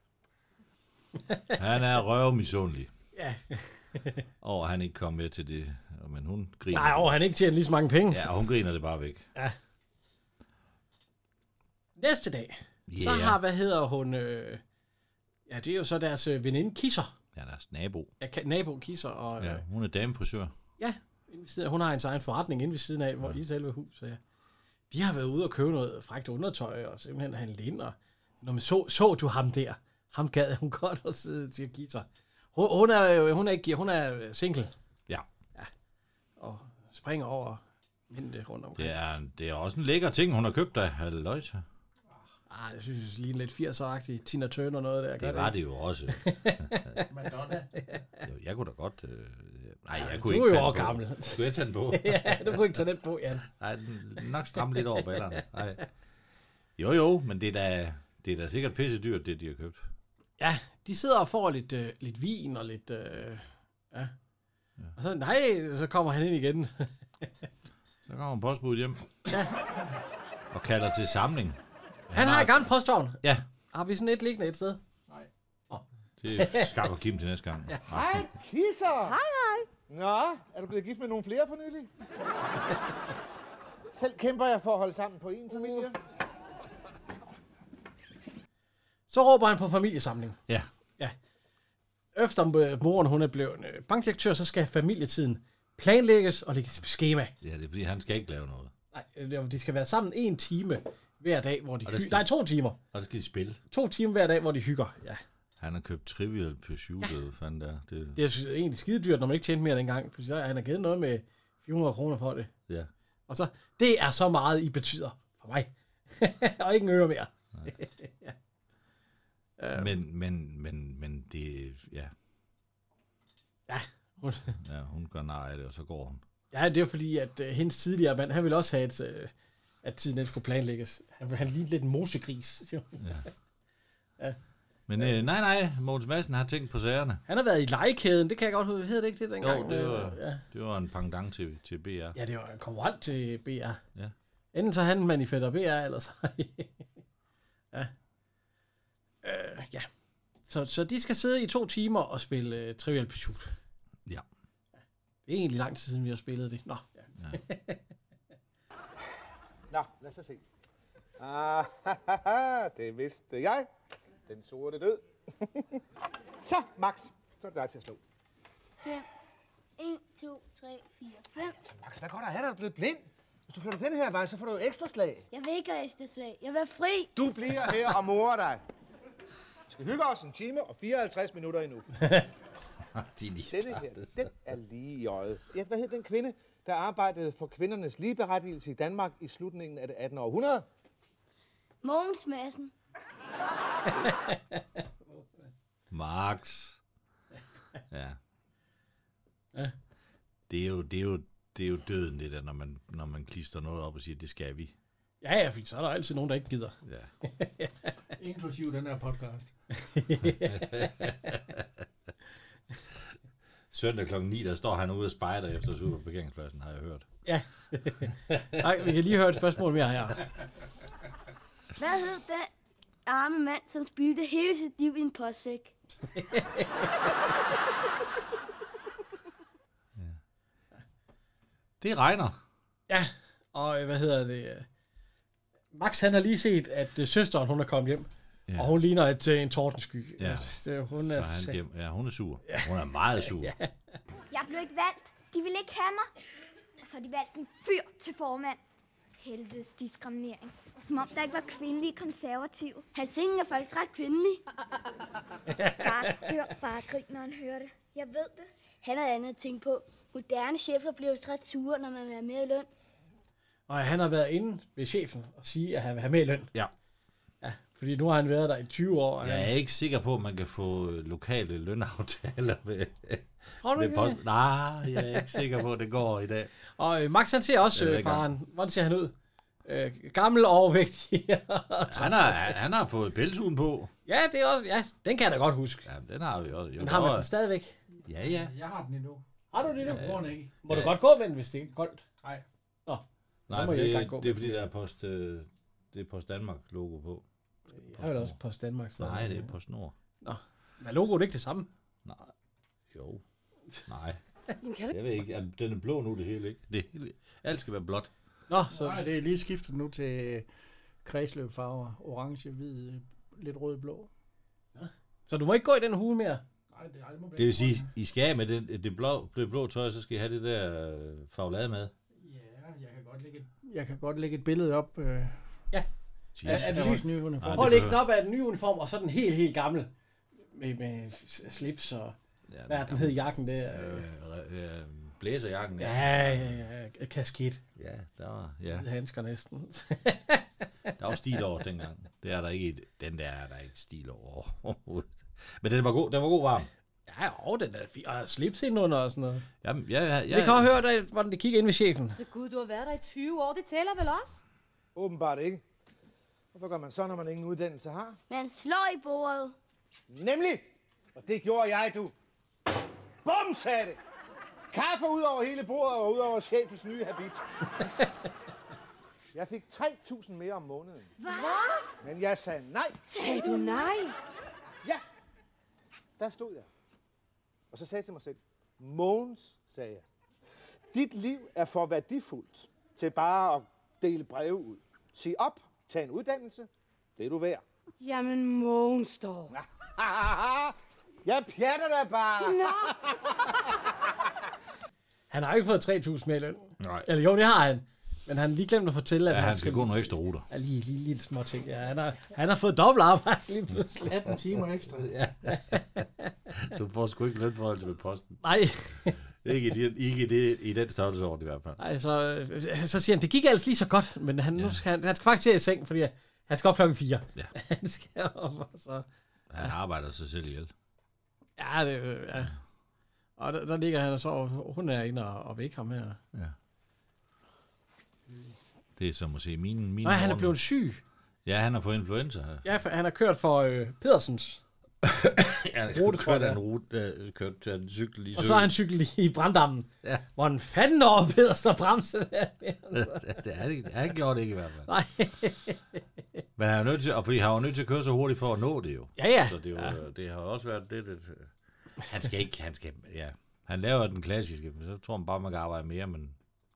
han er røvmisundelig *laughs*
ja.
over, at han ikke kom med til det. Og- Men hun griner.
Nej, over, han ikke tjener lige så mange penge. Ja.
Ja, og hun griner det bare væk.
Næste dag, yeah. så har, hvad hedder hun... Øh, ja, det er jo så deres øh, veninde Kisser.
Ja, deres nabo.
Ja, ka- nabo Kisser, og... øh, Ja.
Ja, hun er damefrisør.
Ja, inde ved siden af. hun har hendes egen forretning inde ved siden af, hvor ja. i selve huset ja. De har været ude og købe noget fragt undertøj, og simpelthen handle ind, og når man så, så du ham der, ham gad hun *laughs* godt at sidde til at give sig. Hun, hun, er, jo- hun, er, ikke- hun er single,
Ja,
og springer over mændene rundt omkring.
det er, det er også en lækker ting, hun har købt dig. Halløjsa.
Ah, jeg synes lige lidt 80'er-agtig, Tina Turner noget der. gør
Det var det jo
*laughs*
også.
Madonna.
Jo, Jeg kunne da godt... Øh, nej, jeg
du
kunne
er
ikke
jo
tage den
også
på.
gammel. *laughs*
Skulle jeg tage den på?
ja, du kunne ikke tage den på, Jan.
Nej, den er nok stramme lidt over ballerne. Nej. Jo, jo, men det er da, det er da sikkert pisse dyrt, det de har købt.
Ja, de sidder og får lidt, øh, lidt vin og lidt... Øh, ja. Og så, nej, så kommer *laughs* han ind igen.
Så kommer postbuddet hjem. Og kalder til samling.
Han har et gammelt postvogn.
Ja,
Har vi sådan et liggende et sted?
det skaffer Kim til næste gang.
Hej, kisser. Hej, hej. Nå, er du blevet gift med nogle flere for nylig? Selv kæmper jeg for at holde sammen på en familie.
Så råber han på familiesamling.
Ja,
Efter øh, moren hun er blevet øh, bankdirektør, så skal familietiden planlægges og lægges på skema.
ja, det er fordi, han skal ikke lave noget.
Nej, øh, de skal være sammen en time hver dag, hvor de
Og der
hygger.
skal-
Nej, to timer.
Og det skal de spille.
To timer hver dag, hvor de hygger. Ja.
Han har købt Trivial Pursuit, ja. fandt der. Det,
Det er synes, egentlig skide dyrt, når man ikke tjener mere dengang. For så han har givet noget med 400 kroner for det.
ja.
Og så, det er så meget, I betyder for mig. *laughs* og ikke en øre mere.
Men, men, men, men det, ja.
Ja, hun,
ja, hun gør nej af det, og så går hun.
Ja, det er jo fordi, at øh, hendes tidligere mand, han ville også have, et, øh, at tiden den skulle planlægges. Han, han lignede lidt en mosegris, siger hun. *laughs* Ja. ja.
Men øh, nej, nej, Mogens Madsen har tænkt på sagerne.
Han har været i legekæden, det kan jeg godt huske. Hed det ikke det dengang?
Jo, det var,
Øh, Ja.
det var en pangdang til, til BR. Ja.
ja, det var en konkurrent til BR.
Ja.
Enten så er han manifester BR, eller så... *laughs* ja. Øh, ja. Så, så de skal sidde i to timer og spille uh, Trivial Pursuit.
Ja.
Det er egentlig lang tid siden, vi har spillet det. Nå, ja.
Nå, lad os så se. Ah, *laughs* haha, det vidste jeg. Den sorte død. *laughs* så, Max. Så er det dig til at slå.
5, 1, 2, 3, 4, 5.
Så Max, hvad godt er der er blevet blind? Hvis du flytter den her vej, så får du ekstra slag.
Jeg vil ikke have ekstra slag. Jeg vil være fri.
Du bliver her og morer dig. Vi skal hygge os en time og 54 minutter endnu.
De, de
Denne her, den er lige i øjet. Ja, hvad hed den kvinde, der arbejdede for kvindernes ligeberettigelse i Danmark i slutningen af det 18. århundrede?
Mogens Madsen.
*laughs*
Marx. Ja. Det er jo, det er jo, det er jo døden, det der, når man, når man klister noget op og siger, det skal vi.
Ja, ja, fordi så er der altid nogen, der ikke gider.
Ja.
Inklusive den her podcast.
Søndag kl. 9, der står han ude og spejder efter sig ude på parkeringspladsen, har jeg hørt.
Ja. Nej, vi kan lige høre et spørgsmål mere her.
Hvad hed den arme mand, som spildte hele sit liv i en postsæk?
Det regner.
Ja, og øh, hvad hedder det? øh, Max, han har lige set, at øh, søsteren, hun er kommet hjem. Ja.
Ja.
Og hun ligner et, øh, en tordensky.
Ja.
Altså, det, hun er,
Og
han
han, giver- ja, hun er sur. Hun er meget
*laughs*
sur.
Jeg blev ikke valgt. De ville ikke have mig.
Og så har de valgt en fyr til formand. Helvedes diskriminering. Som om der ikke var kvindelige konservative. Hans ingen er faktisk ret kvindelig.
Far, hør bare grin, når han hører det.
Jeg ved det. Han havde andet at tænke på. Moderne chefer bliver jo ret sure, når man vil have mere i løn.
og han har været inde ved chefen og sige, at han vil have med i løn.
Ja.
ja. Fordi nu har han været der i 20 år. Og
Jeg
han,
er ikke sikker på, at man kan få øh, lokale lønaftaler med,
Tror du
med
ikke det?
post. Nej, jeg er ikke sikker på, at det går i dag.
Og øh, Max, han ser også
Det er
øh,
ikke engang.
faren. Hvordan ser han ud? Øh, gammel og overvægtig. *laughs*
Han har, han har fået pelshuen på.
ja, det er også... Ja, den kan jeg da godt huske.
Ja, den har vi også. Jo,
Den har
der
man
var-
den stadigvæk.
Ja, ja.
Jeg har den endnu.
Har du det nu?
Jeg bruger den ikke.
Må du godt gå med den, hvis det ikke er koldt?
Nej.
Nej,
må
for
jeg
det,
ikke engang gå
er- det er
med
fordi, der er post, øh, det er post Danmark logo på.
Jeg vil også på Danmark. stadig.
Nej, det er på snor.
Men logoet er ikke det samme.
Nej. Jo. Nej. Jeg ved ikke. *laughs* Jamen, Den er blå nu, det hele, ikke? Det hele. Alt skal være blåt.
Nå, så...
Nej, det er lige skiftet nu til kredsløbfarver. Orange, hvid, lidt rød, blå.
Så du må ikke gå i den hue mere?
Nej, det, det må
Det vil sige, I skal af med det, det, blå, det blå tøj, så skal I have det der øh, faglade med.
Ja, jeg kan godt lægge et, jeg kan godt lægge et billede op øh,
Er, er
Jesus.
det
af
ny?
vores nye uniform.
Prøv
det
at lægge den
behøver-
op af den nye uniform, og så den helt, helt gammel. Med, med s- slips og...
Ja,
Hvad er den hed jakken der?
Øh,
Øh,
øh, øh, blæserjakken, ja.
Ja, ja, ja. Kasket.
Ja, der var, ja.
Handsker næsten. *laughs*
Der var stil over dengang. Det er der ikke. i- Den der er der ikke stil over overhovedet. Men den var god, den var god varm.
Ja, og den er fin. Og slips indenunder og sådan noget.
Jamen, ja, ja, ja.
Vi kan også høre, der, hvordan det kigger ind ved chefen.
Så gud, du har været der i 20 år. Det tæller vel også?
Åbenbart ikke. Hvorfor gør man så, når man ingen uddannelse har?
Man slår i bordet.
Nemlig! Og det gjorde jeg, du. Bum, sagde det. Kaffe ud over hele bordet og ud over chefens nye habit. Jeg fik 3.000 mere om måneden. Hvad? Men jeg sagde nej.
Sagde du nej?
Ja, der stod jeg. Og så sagde jeg til mig selv, Mogens, sagde jeg, dit liv er for værdifuldt til bare at dele breve ud. Sig op, tag en uddannelse, det er du værd.
Jamen, Mogens dog.
jeg pjatter dig bare.
Han har ikke fået 3.000 mere i løn.
Nej.
Eller jo, det har han. Men han har lige glemt at fortælle, at
Ja, han skal gå nogle ekstra ruter.
Ja, lige, lige, lige små ting. Ja, han, har, han har fået dobbelt arbejde lige pludselig.
18 timer ekstra.
Du får sgu ikke lønforhold ved posten.
Nej,
Ikke i, de, ikke i, det, i den størrelsesorden i hvert fald.
nej så, øh, så siger han, det gik altså lige så godt, men han, ja. nu skal, han, han skal faktisk til i seng, fordi øh, han skal op klokken 4.
Ja.
*laughs* Han skal op, og så...
Han arbejder sig selv ihjel.
Ja, det, øh, ja. Og der, der ligger han og sover. Hun er inde og, og vækker ham her.
Det er som at se mine, mine
Nej, han er
morgener.
blevet syg.
Ja, han har fået influenza.
Ja, for han har kørt for øh, Pedersens.
Ja,
Rutetrøje,
kørt af
ja.
en rute, øh, kørt af en cykel lige
Og så har han cyklet i branddammen. Ja. Hvor han fanden over Pedersen bremsede der.
det har han ikke- han gjorde det ikke i hvert fald.
Nej.
Men han er jo nødt til, og fordi han var nødt til at køre så hurtigt for at nå det jo.
Ja, ja.
Så det, er jo, ja. det har også været det, det. Han skal ikke, han skal, ja. Han laver den klassiske, men så tror man bare, man kan arbejde mere, men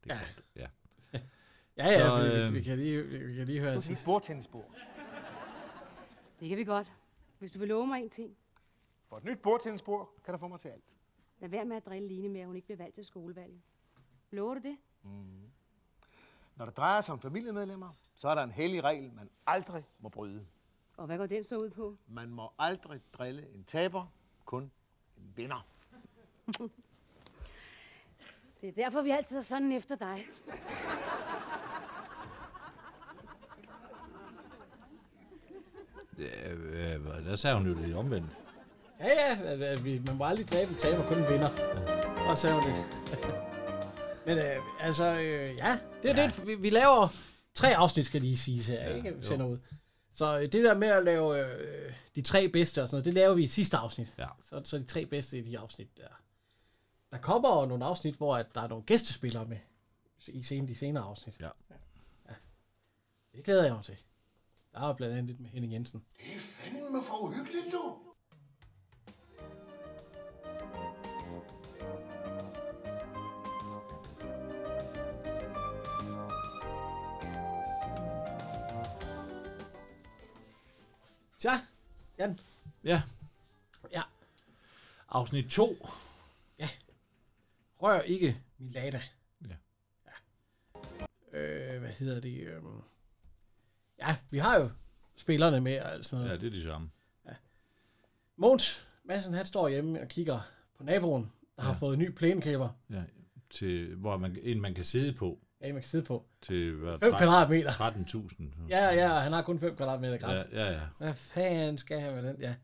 det ja. ja.
Ja, ja,
Så,
så, øh...
øh,
vi, vi, kan lige, vi kan lige høre hans sidste.
bordtennisbord.
Det kan vi godt. Hvis du vil love mig en ting.
For et nyt bordtennisbord kan du få mig til alt.
Lad være med at drille Line med, at hun ikke bliver valgt til skolevalget. Lover du det?
Når det drejer sig om familiemedlemmer, så er der en hellig regel, man aldrig må bryde.
Og hvad går den så ud på?
Man må aldrig drille en taber, kun en vinder.
Det er derfor, vi altid er sådan efter dig.
Øh, øh, der sagde hun jo det lidt omvendt.
Ja, ja, at- at vi, man må aldrig dræbe en taber, kun en vinder. Og så var det. *laughs* Men øh, altså, øh, ja, det er ja. det, vi, vi laver tre afsnit, skal lige siges her, ja, ikke? Vi sender ud. Så øh, det der med at lave øh, de tre bedste og sådan noget, det laver vi i sidste afsnit.
Ja.
Så, så de tre bedste i de afsnit der. Der kommer jo nogle afsnit, hvor at der er nogle gæstespillere med i sen, de senere afsnit.
Ja.
ja. Det glæder jeg mig til. Der er jo blandt andet lidt med Henning Jensen.
Men for uhyggeligt, du!
Tja, Jan.
Ja.
Ja.
Afsnit 2.
Rør ikke Milada.
Ja.
ja. Øh, hvad hedder det? øhm, Ja, vi har jo spillerne med og alt sådan
Ja,
noget. Ja.
det er det samme.
Måns Madsen, han står hjemme og kigger på naboen, der ja. har
Ja.
fået en ny plæneklipper,
Ja, til, hvor man, en man kan sidde på
ja, man kan sidde på.
til hvad,
5
tre-
kvadratmeter.
13.000.
Ja, ja, og han har kun 5 kvadratmeter græs. Ja.
Ja, ja, ja.
Hvad fanden skal han med den? Ja,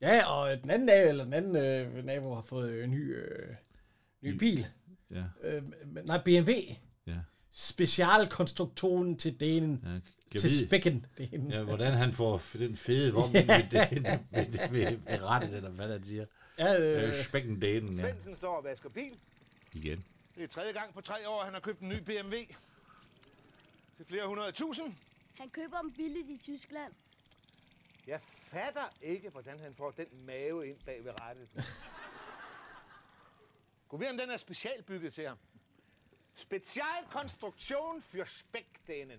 ja og den anden nabo, eller den anden øh, nabo har fået øh, en ny, øh, ny
Ny.
bil.
ja.
Øh, men- nej, BMW.
Ja.
Specialkonstruktoren til Danen.
ja. Kan
til
vide,
spækken. Det er en,
ja, hvordan han får f- den fede vogn med, det, med, det, med, med rettet, eller hvad han siger.
ja,
Øh,
øh,
spækken daten, ja.
Svendsen står og vasker bil.
Igen.
Det er tredje gang på tre år, han har købt en ny BMW. Til flere hundrede tusind.
Han køber dem billigt i Tyskland.
Jeg fatter ikke, hvordan han får den mave ind bag ved rattet. du. Gå ved, om den er specialbygget til ham. Specialkonstruktion for spækdænen.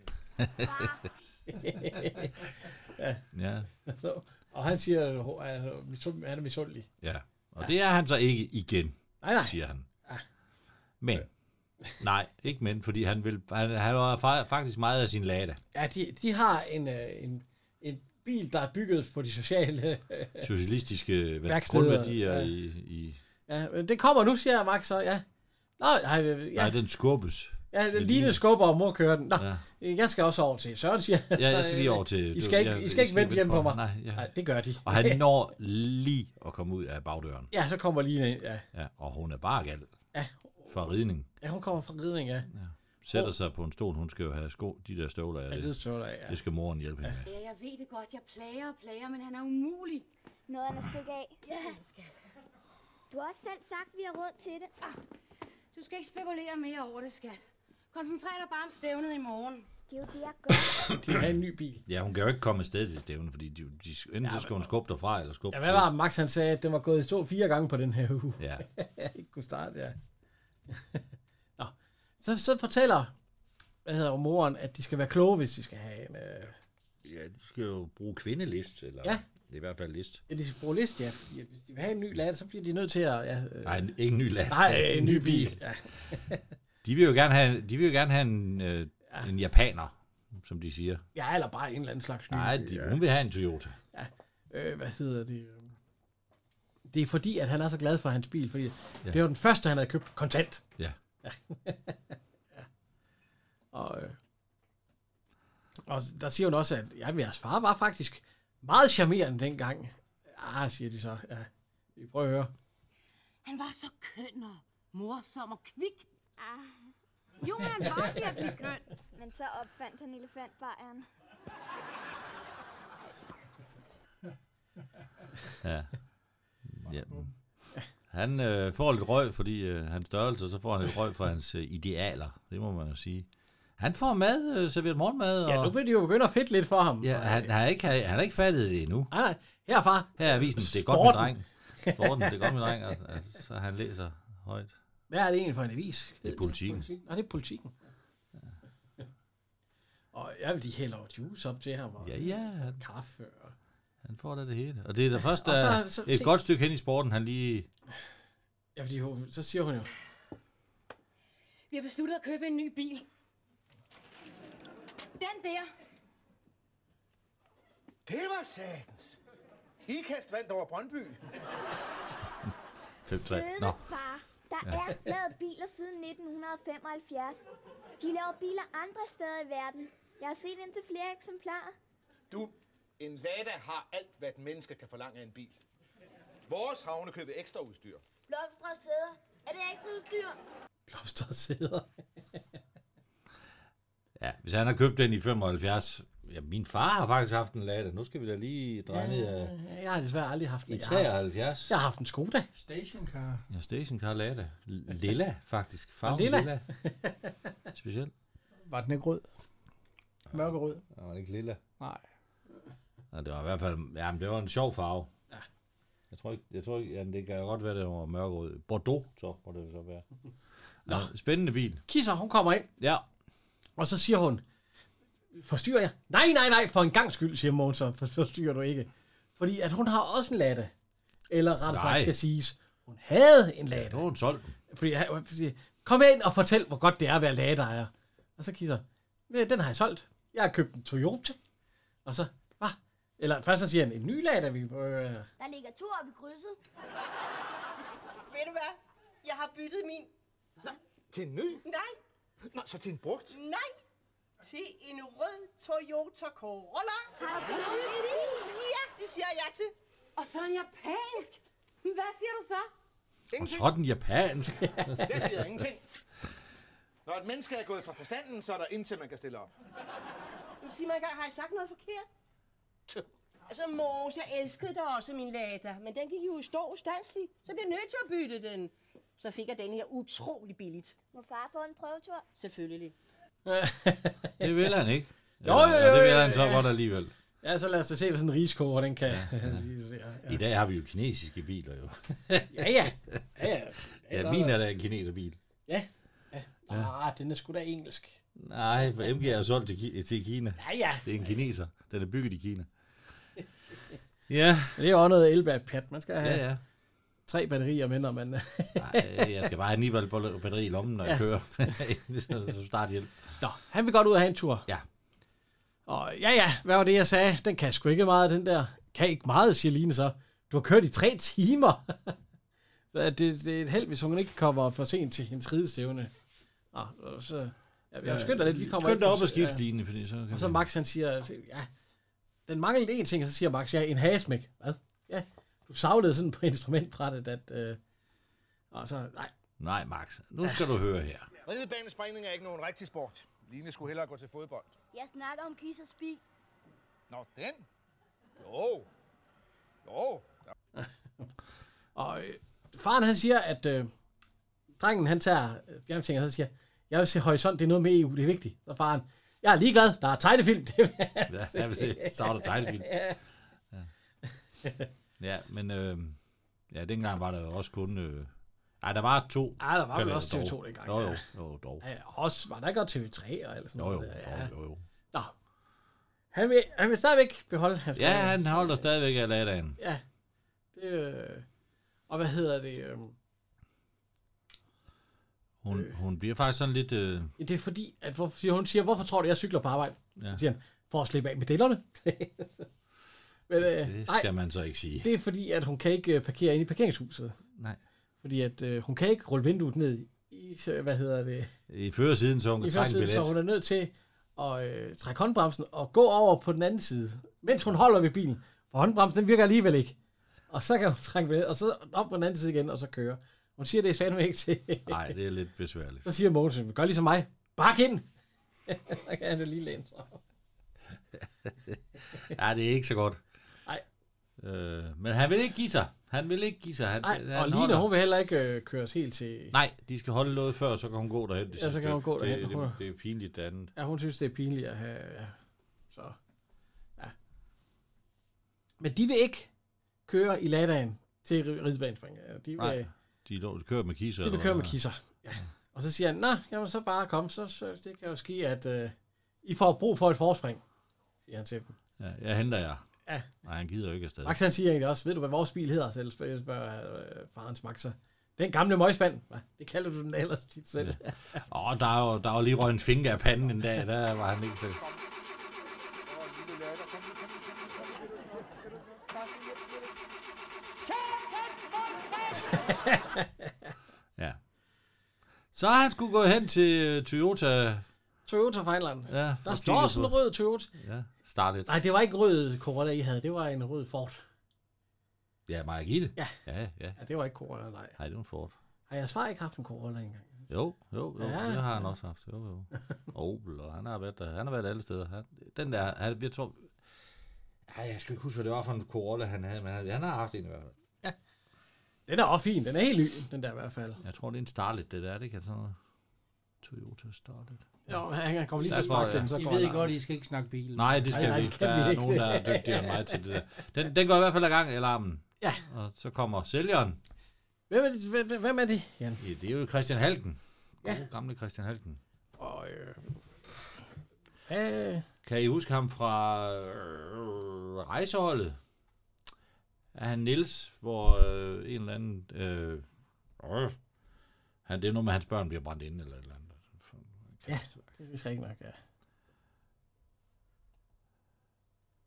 Ja,
og han siger, at ho- at han er øh, misund- han er misundelig.
ja. Og det er han så ikke igen,
Nej, nej.
siger han.
Ah.
Men, nej, ikke men, fordi han, vil, han, han var fa- faktisk meget af sin lada.
Ja, de, de har en, øh, en, en bil, der er bygget på de sociale... *laughs*
Socialistiske hvad,
Værksteder,
grundværdier
ja.
ja. i, i
ja, men det kommer nu, siger Max så, ja. Nå, nej, øh,
Ja.
ja,
Nej, den skubbes.
ja, Line skubber, og mor kører den. Nå,
Ja.
øh, jeg skal også over til Søren, siger han.
Ja, jeg skal lige over til...
øh, I skal ikke,
jeg-
I skal ikke vente hjemme på mig.
Nej, ja.
Nej, det gør de.
Og han når lige at komme ud af bagdøren.
Ja, så kommer Line ind. Ja,
Ja, og hun er bare gal
ja.
fra ridning.
ja hun kommer fra ridning, ja. ja.
Sætter sig på en stol. Hun skal jo have sko, de der støvler. Ja, det,
Ridestøvler, Oh. ja.
det skal moren hjælpe hende med.
Ja, jeg ved det godt. Jeg plager og plager, men han er umulig.
Noget andet stik af. Ja. Du har også selv sagt, at vi har råd til det.
Du skal ikke spekulere mere over det, skat. Koncentrer dig bare om stævnet i morgen.
Det er jo det, jeg gør.
De har en ny bil.
Ja, hun kan jo ikke komme afsted til stævnen, fordi de, de, enten så skal hun skubbe derfra, eller skubbe
Ja, hvad var det, Max han sagde, at den var gået i stå fire gange på den her uge.
til- Ja,
jeg ikke kunne starte, *laughs* ja. Nå. Så, så fortæller hvad hedder moren, at de skal være kloge, hvis de skal have en... Øh,
ja du skal jo bruge kvindelist, eller
Ja.
det er i hvert fald list.
at de skal bruge list, ja, fordi at hvis de vil have en ny lad, så bliver de nødt til at... Ja, øh,
Nej, ikke en ny last.
nej, øh, en ny bil. Ja.
De vil jo gerne have, de vil jo gerne have en, øh, en japaner, som de siger.
ja, eller bare en eller anden slags ny
Nej,
bil,
de,
ja.
hun vil have en Toyota.
øh, hvad hedder det? øh, Det er fordi, at han er så glad for hans bil, fordi ja. det var den første, han havde købt kontant. *laughs*
Ja.
Og, øh, og der siger hun også, at ja, jeres far var faktisk meget charmerende dengang. Ah, siger de så. Ja. Vi prøver at høre.
Han var så køn og morsom og kvik. Jo, han var virkelig køn.
Ah, Men så opfandt han elefantbejeren.
Ja. Ja. Han øh, får lidt røg, fordi øh, hans størrelse, og så får han lidt røg for hans øh, idealer. Det må man jo sige. Han får mad, øh, serveret morgenmad. Og,
Ja, nu vil de jo begynde at fedte lidt for ham.
ja, han, han, har ikke, han har ikke fattet det endnu.
Nej, nej. Her, far.
Her er avisen, det er godt med
Sporten.
dreng. Sporten, det er godt med dreng. Og, altså, så han læser højt.
Hvad er det egentlig for en avis?
Det er politikken.
Nej, det er politikken. Og jeg vil de hælder jo juice op til ham, og
Ja, ja, han,
kaffe. Og...
han får da det hele. Og det er da først
Og så-
øh,
så-
et
se-
godt stykke hen i sporten, han lige...
Ja, fordi hun, så siger hun jo,
Vi har besluttet at købe en ny bil. Den der.
Det var satans. Ikast vandt over Brøndby.
5-3. Nå,
Søde far, der er lavet biler siden 1975. De laver biler andre steder i verden. Jeg har set indtil flere eksemplarer.
Du, en Lada har alt, hvad et menneske kan forlange af en bil. Vores havne købet ekstra udstyr.
Blomstre og sæder. Er det ekstra udstyr?
blomster sidder.
*laughs* ja, hvis han har købt den i 75... Ja, min far har faktisk haft en lader. Nu skal vi da lige dreje ned af...
Jeg har desværre aldrig haft
I
en. Jeg har,
73.
jeg har haft en Skoda.
Stationcar.
Ja, Station Carlata. Lilla, faktisk. Farven
lilla.
lilla.
*laughs*
lilla. Specielt.
Var den ikke rød? Mørkerød?
Der var ikke lilla.
Nej.
Ja, det var i hvert fald... Jamen, det var en sjov farve. Ja. Jeg tror ikke... Jeg tror ikke jamen, det kan godt være, det var mørkerød. Bordeaux, så må det så
*laughs*
være. Nå. Ja, spændende bil.
Kisser, hun kommer ind,
Ja.
og så siger hun, forstyrrer jeg? Nej, nej, nej, for en gang skyld, siger Mogens, så "for- forstyrrer du ikke. Fordi at hun har også en latte. Eller rettere sagt
Nej.
skal siges, hun havde en
Ja,
latte.
det var en solgt. den.
Fordi han han siger, kom ind og fortæl, hvor godt det er at være ladeejer. Og så kisser, "Ja, den har jeg solgt. Jeg har købt en Toyota. Og så, hvad? Eller først så siger han, en ny lader vi på. øh."
Der ligger to oppe i krydset.
Ved du hvad? Jeg har byttet min...
Til en ny?
Nej,
Nå, så til en brugt?
nej! Til en rød Toyota Corolla.
Har du fået en ny bil?
Ja, det siger jeg til.
Og så en japansk. Hvad siger du så?
Og sådan japansk.
Jeg siger ingenting. Når et menneske er gået fra forstanden, så er der intet, man kan stille op.
Men sig mig engang, har jeg sagt noget forkert? Altså, Mors, jeg elskede da også min lader, men den gik jo i stå ustandsligt. Så blev jeg nødt til at bytte den. Så fik jeg den her utrolig billigt.
Må far få en prøvetur?
Selvfølgelig.
Det vil han ikke.
*laughs* Jo, jo,
Ja, det
jo,
vil
jo,
han så
jo.
godt alligevel.
*laughs* Ja, så lad os da se, hvad sådan en riskoger, den kan. *laughs* Ja,
I dag har vi jo kinesiske biler, jo.
ja. ja, ja.
Ja, min er da en kineserbil.
Ah, den er sgu da engelsk.
Nej, for MG er jo solgt til, Ki- til Kina.
Ja, ja.
Det er en kineser. Den er bygget i Kina. *laughs* Ja,
Men det er jo også noget elbatpjat. Man skal have
ja,
ja, ja.
ja.
tre batterier mindre, men
Ej, jeg skal bare have Nival batteri i lommen, når jeg kører. *laughs* så så start hjælp.
Nå, han vil godt ud og have en tur.
Ja.
Og ja, ja, hvad var det, jeg sagde? Den kan sgu ikke meget, den der. Kan ikke meget, siger Line så. Du har kørt i tre timer. *laughs* så det, det er et held, hvis hun ikke kommer for sent til hendes ridestævne. Nå, og så... Ja, jeg skynder lidt, vi kommer
Skynd dig
ikke
op
for-
og skift
ja.
linje, fordi så kan
Og så Max, han siger, altså, ja, den manglede en ting, og så siger Max, ja, en hasmæk. Hvad? Ja, du savlede sådan på *laughs* instrumentbrættet, at... Øh, og så, nej,
Nej, Max, nu skal du høre her.
Ridebanespringning er ikke nogen rigtig sport. Line skulle hellere gå til fodbold.
Jeg snakker om Kissers bil.
Nå, den? Jo. Jo.
Og øh, faren han siger, at øh, drengen han tager øh, fjernsynet, og så siger, jeg vil se horisont, det er noget med EU, det er vigtigt. Så faren, jeg er ligeglad, der er tegnefilm. *laughs* Det er-
*laughs* Ja, jeg vil se. Så er der tegnefilm. Ja. ja, men øh, ja, dengang var der jo også kun... Øh, ej, der var to.
Ej, der var vel
kanaler
også TV2
dog.
dengang,
Jo,
ja.
jo, jo, dog.
ja, også var der ikke også TV3 og alt sådan
Jo, jo,
noget. der,
jo,
ja.
jo, jo.
Nå. Han vil, han vil stadigvæk beholde hans
Ja,
rolle.
han holder stadigvæk af ladagen.
ja. Det, øh, og hvad hedder det? Øh,
Hun, hun bliver faktisk sådan lidt... Øh,
ja, det er fordi, at hvorfor, siger, hun siger, hvorfor tror du, jeg cykler på arbejde? Ja. Så siger han, for at slippe af med dillerne. *laughs* Men, øh,
det
nej,
skal man så ikke sige.
Det er fordi, at hun kan ikke øh, parkere inde i parkeringshuset.
Nej.
Fordi at øh, hun kan ikke rulle vinduet ned i, så, hvad hedder det,
I førersiden, så hun
i
kan trække en
første
billet.
så hun er nødt til at øh, trække håndbremsen og gå over på den anden side, mens hun holder ved bilen. For håndbremsen, den virker alligevel ikke. Og så kan hun trække billet, og så op på den anden side igen, og så køre. Hun siger, det er fandme ikke til.
Nej, det er lidt
*laughs*
besværligt.
så siger Mogensen, gør ligesom mig, bak ind! *laughs* så kan han jo lige læne sig.
Ja, det er ikke så godt.
Nej.
Øh, men han vil ikke give sig. Han vil ikke give sig. Han,
Ej,
han
og Line,
holder.
hun vil heller ikke øh, køres helt til...
Nej, de skal holde noget før, så kan hun gå derhen. Det
Ja,
sidste.
så kan hun gå derhen.
Det,
Hun-
det, det er pinligt det andet.
Ja, hun synes, det er pinligt at have... Ja. Så, ja. Men de vil ikke køre i ladagen til ri- ridebanespring. Ja, De vil,
Nej, de, lå, de kører med kisser.
de vil
eller
køre
hvad?
med kisser. Ja. Og så siger han, nå, jamen så bare kom, så, så det kan jo ske, at øh, I får brug for et forspring, siger han til dem.
Ja, jeg henter jer.
Ja.
Nej, han gider jo ikke afsted.
Max han siger egentlig også, ved du hvad vores bil hedder selv, spørger, spørger øh, farens Max så. Den gamle møgspand, Hva? det kalder du den ellers tit selv. Ja.
Åh, der er jo, der er jo lige røget en finger af panden en dag. Der var
*laughs*
han ikke så... Ja. Så er han skulle gå hen til øh, Toyota.
Toyota Finland. Ja,
Ja,
der står sådan en rød Toyota.
Ja, start it.
Nej, det var ikke en rød Corolla, I havde, det var en rød Ford.
Ja, Margit.
Ja.
Ja, ja.
Ja, det var ikke Corolla, nej.
Hej, det er en Ford.
Har jeres far ikke haft en Corolla engang?
Jo, jo, jo.
Ja.
Ja, det har han også haft. Jo, jo. Opel, og han har været der. Han har været alle steder. Han, den der, han, jeg tror... Ej, jeg skal ikke huske, hvad det var for en Corolla, han havde, men han, han har haft en i hvert fald.
Den er også fin, den er helt ny, den der i hvert fald.
Jeg tror, det er en Starlet, det der, det kan sådan noget. Toyota Starlet.
Jo, han han kommer lige til
Der
at snakke
tror
til
jeg.
den, så
I
går
ved
alarmen.
godt, I skal ikke snakke bil.
Nej, det skal
nej,
nej, vi
det
ikke.
kan
Der
vi
er
ikke.
nogen, der er dygtigere end mig til det der. Den, den går i hvert fald i gang, alarmen.
Ja.
Og så kommer sælgeren.
Hvem er det? Hvem, hvem er det? Jan.
Ja, det er jo Christian Halken.
Ja.
Ja. God, gamle Christian Halken.
Og, øh, øh,
Kan I huske ham fra øh, rejseholdet? Er han Nils, hvor øh, en eller anden... Øh, øh, han, det er noget med, at hans børn bliver brændt inde eller et eller andet.
Ja. det er vist rigtigt nok, ja.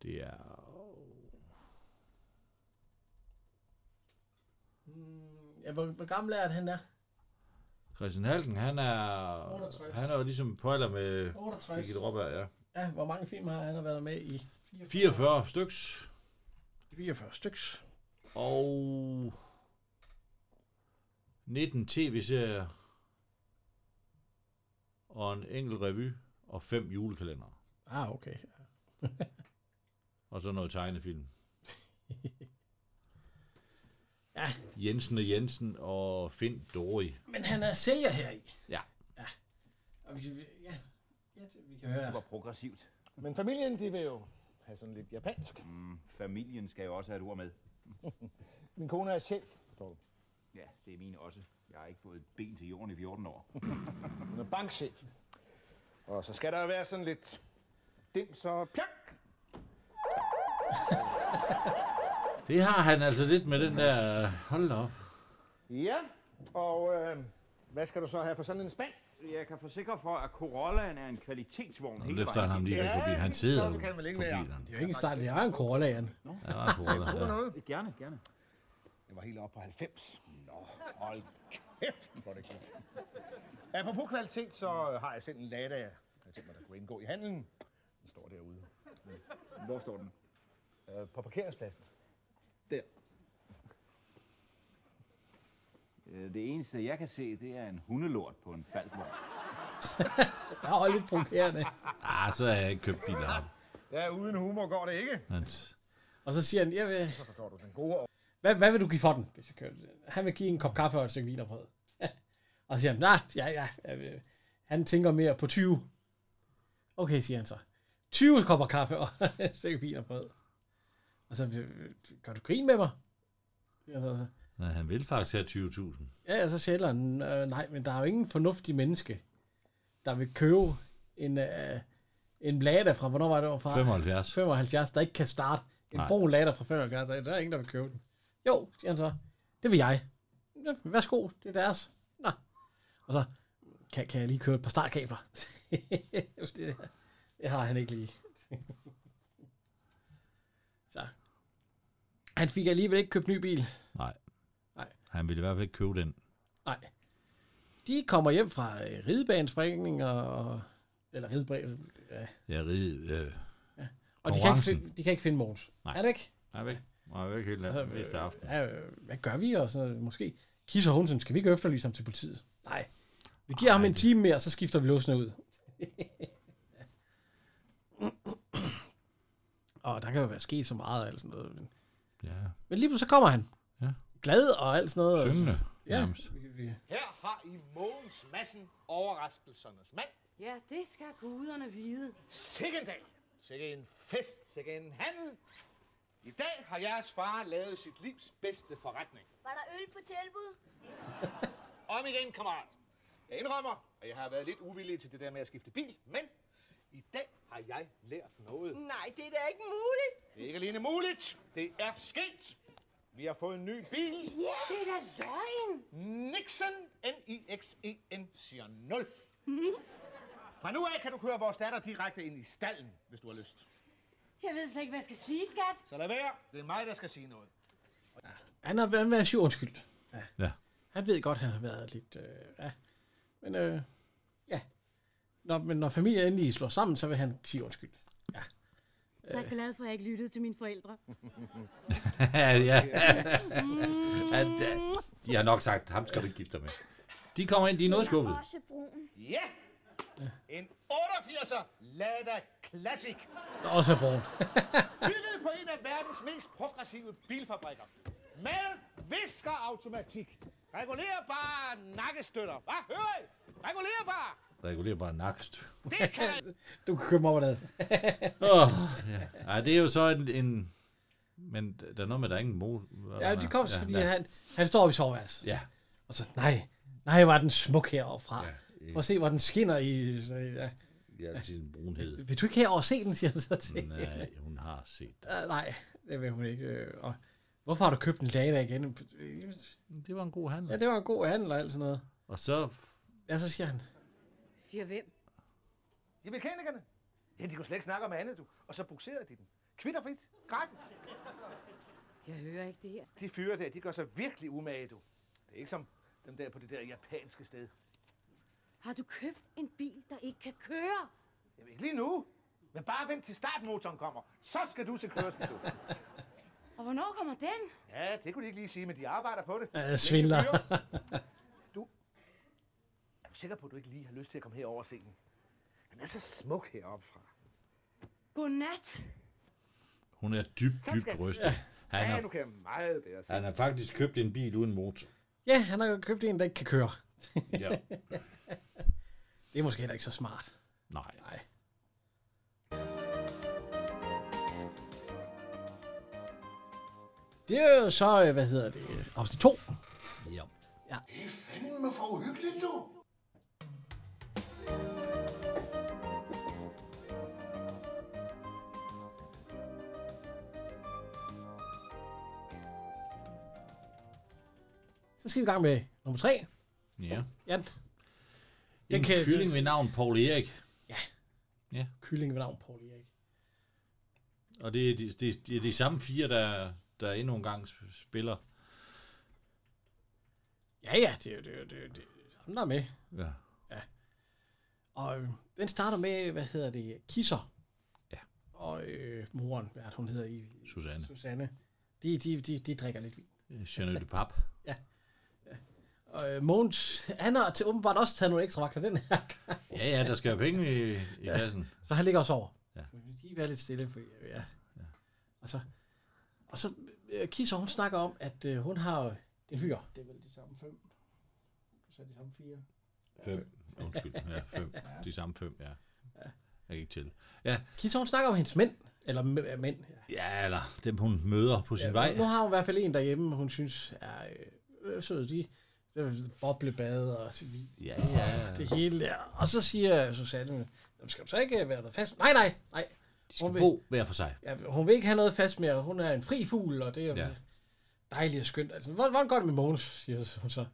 Det er...
Mm, ja hvor, hvor gammel er det, han er?
Christian Halken, han er...
68.
Han er jo ligesom pøjler med...
68.
Birgitte Råberg, ja.
Ja, hvor mange film har han været med i?
44 styks.
44 styks.
Og 19 tv-serier. Og en enkelt revy. Og fem julekalender.
Ah, okay.
Og så noget tegnefilm.
Ja.
Jensen og Jensen og Finn Dori.
Men han er sælger her i.
Ja.
ja. Og vi, vi- ja. ja, det- vi kan høre.
var progressivt.
Men familien, de vil jo have sådan lidt japansk.
Mm, familien skal jo også have et ord med.
Min kone er chef, forstår du.
Ja, det er min også. Jeg har ikke fået et ben til jorden i 14 år.
Hun er bankchef. Og så skal der jo være sådan lidt dims og pjak.
Det har han altså lidt med den der... Hold da op.
Ja, og øh, hvad skal du så have for sådan en spand?
Jeg kan forsikre for, at Corollaen er en kvalitetsvogn
Nu løfter han ham lige rigtig
Ja,
forbi. Han
så
sidder jo
kan han vel ikke
på
være.
bilerne.
Det er jo ikke en start, det er en Corolla, Jan.
Ja, der er en corona, ja.
Noget?
Gerne, gerne.
Jeg var helt oppe på 90. Nå, hold kæft, hvor er det godt. Apropos kvalitet, så har jeg sendt en lada, jeg tænkte mig, der kunne indgå i handelen. Den står derude.
Hvor står den?
Øh, på parkeringspladsen.
Der. Det eneste, jeg kan se, det er en hundelort på en falkvogn.
Jeg er også lidt provokerende.
Ah, så har jeg ikke købt biler ham.
Ja, uden humor går det ikke.
Hans.
Og så siger han, jeg vil,
Så forstår du den gode år.
hvad, hvad vil du give for den? Hvis jeg kører det? Han vil give en kop kaffe og et stykke vinerbrød. *laughs* og så siger han, nej, ja, ja, jeg vil- han tænker mere på 20. Okay, siger han så. 20 kopper kaffe og *laughs* et stykke vinerbrød. Og så, "Øh, gør du grin med mig? Siger han så, så.
Nej, han vil faktisk have 20.000.
Ja, og så sælger han, øh, nej, men der er jo ingen fornuftig menneske, der vil købe en, øh, en Lada fra, hvornår var det, var fra?
75.
75, der ikke kan starte en
Nej.
brun Lada fra 75, der er ingen, der vil købe den. Jo, siger han så, det vil jeg. Ja, værsgo, det er deres. Nå. Og så, kan, kan jeg lige købe et par startkabler? *laughs* det, der, det har han ikke lige. *laughs* så. Han fik alligevel ikke købt ny bil.
Nej.
Nej.
Han ville i hvert fald ikke købe den.
Nej. De kommer hjem fra øh, ridebanespringning og... Eller ridebane... Ja.
Ja, ride.
Og
Øh.
de kan, ikke
Konkurrencen.
finde, de kan ikke finde Mogens.
Nej.
Er det ikke?
Nej, væk. Nej, væk helt den næste aften.
Ja, øh, hvad gør vi? Og så måske... Kisser Hunsen, skal vi ikke efterlyse ham til politiet? Nej. Vi giver Ej, ham en time mere, så skifter vi låsene ud. *laughs* og der kan jo være sket så meget eller sådan noget. Men,
Ja.
men lige pludselig så kommer han.
Ja.
glad og alt sådan noget.
Syngende,
Ja.
nærmest.
Vi- vi-
Her har I Mogens Madsen, overraskelsernes mand.
Ja, det skal guderne vide.
Sikke en dag. Sikke en fest. Sikke en handel. I dag har jeres far lavet sit livs bedste forretning.
Var der øl på
*laughs*
tilbud?
Om igen, kammerat. Jeg indrømmer, at jeg har været lidt uvillig til det der med at skifte bil, men i dag har jeg lært noget.
Nej, det er da ikke muligt.
Det er ikke alene muligt. Det er sket. Vi har fået en ny bil.
Ja, det er da løgn.
Nixon, N-I-X-E-N, E siger
*laughs*
0. Fra nu af kan du køre vores datter direkte ind i stallen, hvis du har lyst.
Jeg ved slet ikke, hvad jeg skal sige, skat.
Så lad være. Det er mig, der skal sige noget.
Han har været været syg undskyld. Ja.
Ja.
Han ved godt, han har været lidt... Øh, ja. Men øh, ja. Når, men når familien endelig slår sammen, så vil han sige undskyld.
Så er jeg glad for, at jeg ikke lyttede til mine forældre.
ja, ja. ja da. de har nok sagt, ham skal du ikke gifte dig med. De kommer ind, de er noget skuffet.
Også brun.
Ja! En 88'er Lada Classic.
Der også er brun.
Bygget på en af verdens mest progressive bilfabrikker. Med viskerautomatik. Regulerbare nakkestøtter. Hvad hører I? Regulerbare.
Regulerer bare nakst.
Det kan
Du kan købe mig over det.
Åh, ja. Ej, det er jo så en... en men der er noget med, at der er ingen mo...
Ja, det kom,
Ja,
fordi
nej.
han, han står op i soveværelset.
Ja.
Og så, nej, nej, var den smuk herovre fra.
Ja,
Prøv at se, hvor den skinner i... Så, ja.
Ja, sin brunhed.
Vil du ikke herover se den, siger han så til. hende.
Nej, hun har set det.
Øh, nej, det vil hun ikke. øh, Og hvorfor har du købt en Lada igen?
Det var en god handel.
Ja, det var en god handel og alt sådan noget.
Og så...
Ja, så siger han,
Siger hvem?
De mekanikerne. Ja, de kunne slet ikke snakke om andet, du. Og så bukserede de den. Kvitterfrit. Gratis.
Jeg hører ikke det her.
De fyre der, de gør sig virkelig umage, du. Det er ikke som dem der på det der japanske sted.
Har du købt en bil, der ikke kan køre?
Jeg ved ikke lige nu. Men bare vent til startmotoren kommer. Så skal du se kørsel, du.
Og hvornår kommer den?
Ja, det kunne de ikke lige sige, men de arbejder på det.
ja, svindler.
Flinke
*laughs*
fyre. Du, er du sikker på, at du ikke lige har lyst til at komme herover og se den? Den er så smuk heroppe fra.
Godnat.
Hun er dybt,
Tak,
dybt
skat.
rystet. Han
Ja, du
har,
kan meget bedre se.
han har faktisk købt en bil uden motor.
Ja, han har købt en, der ikke kan køre.
Ja.
Det er måske heller ikke så smart.
Nej.
Nej. Det er jo så, øh, hvad hedder det, afsnit 2.
Ja.
Fanden for uhyggeligt, du.
Så skal vi i gang med nummer 3.
ja.
Jan, Den
En
kan-
kylling ved navn Paul Erik.
kylling ved navn Paul Erik.
Og det er de, de, de, er de samme fire, der, der endnu en gang spiller.
Ja, ja, det er jo det, er jo- det, er jo- det, er ham, der er med.
Ja.
Og øh, den starter med, hvad hedder det, Kisser.
Ja.
Og øh, moren, hvad er det, hun hedder i
Susanne.
Susanne. De, de, de, de drikker lidt vin.
Øh, Jeanette Pap.
Og øh, Mogens, han har til åbenbart også taget nogle ekstra vagter den her. gang.
Ja, ja, der skal jo penge i, i kassen.
Så han ligger også over.
Ja.
Men vi skal lige være lidt stille, for ja. ja. Og så, og så øh, Kisser, hun snakker om, at øh, hun har øh, en fyr.
Det er vel de samme fem. Du sagde de samme fire.
*laughs* Fem. Undskyld. Ja, fem. De samme fem, ja. Jeg kan ikke til. Ja,
Kisser, hun snakker om hendes mænd. Eller mæ- mænd, ja.
ja eller dem hun møder på sin ja, vej.
Nu har hun i hvert fald en derhjemme, hun synes er øh, øh, sød. De, det er boblebade og vin.
Ja, ja.
det hele der. Og så siger Susanne, "Jamen, skal du så ikke være der fast? Nej, nej, nej.
De skal
Hun vil-
bo hver for sig.
Ja, hun vil ikke have noget fast mere. Hun er en fri fugl, og det er ja.
Ja.
dejligt og skønt. Altså, hvordan, hvordan går det med Mogens, siger hun så.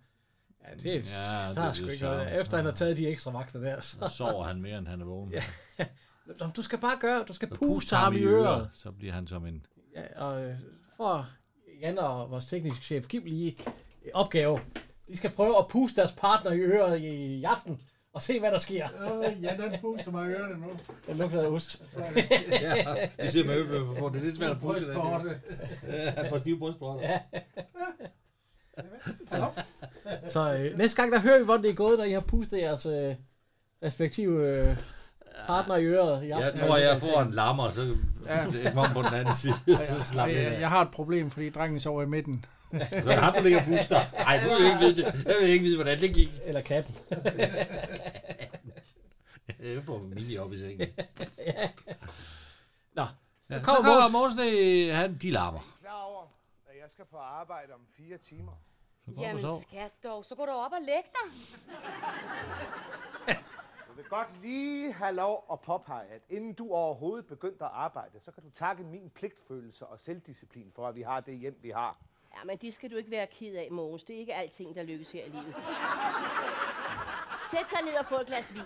Ja, det er, ja, så det er sgu
det
ikke
så.
noget. Efter han har taget de ekstra vagter der. Så.
Så sover han mere, end han er vågen. Ja.
Nå, Du skal bare gøre, du skal puste ham i øret.
Så bliver han som en...
Ja, og øh, for Jan og vores tekniske chef Kim lige øh, opgave. De skal prøve at puste deres partner i øret i, i aften, og se hvad der sker.
Åh, Øh, ja, den puster mig i ørerne nu.
Den lugter af ost.
Ja, de sidder med øbøffer på. Det er lidt svært at
Brystvorte.
Ja, på stive brystbrødder. Ja.
Så øh, næste gang, der hører vi, hvordan det er gået, når I har pustet jeres øh, respektive øh, partner i øret i aften.
Jeg tror, jeg får en lammer, så ja. jeg kommer på den anden side. Så slapper
Jeg,
jeg af.
jeg har et problem, fordi drengen sover i midten.
Så er det ham, der ligger og puster. Ej, nu vil jeg ikke vide det. Jeg vil ikke vide, hvordan det gik.
Eller *laughs* katten.
Jeg får mini op i sengen.
Nå,
Ja,
så
så
kommer
kommer
Mogens.
Mogensen, øh, han, de larmer.
Klar over, at jeg skal på arbejde om fire timer.
Jamen skat dog, så går du op og læg dig.
Jeg vil godt lige have lov at påpege, at inden du overhovedet begyndte at arbejde, så kan du takke min pligtfølelse og selvdisciplin for, at vi har det hjem, vi har.
Ja, men det skal du ikke være ked af, Mogens. Det er ikke alting, der lykkes her i livet. Sæt dig ned og få et glas vin.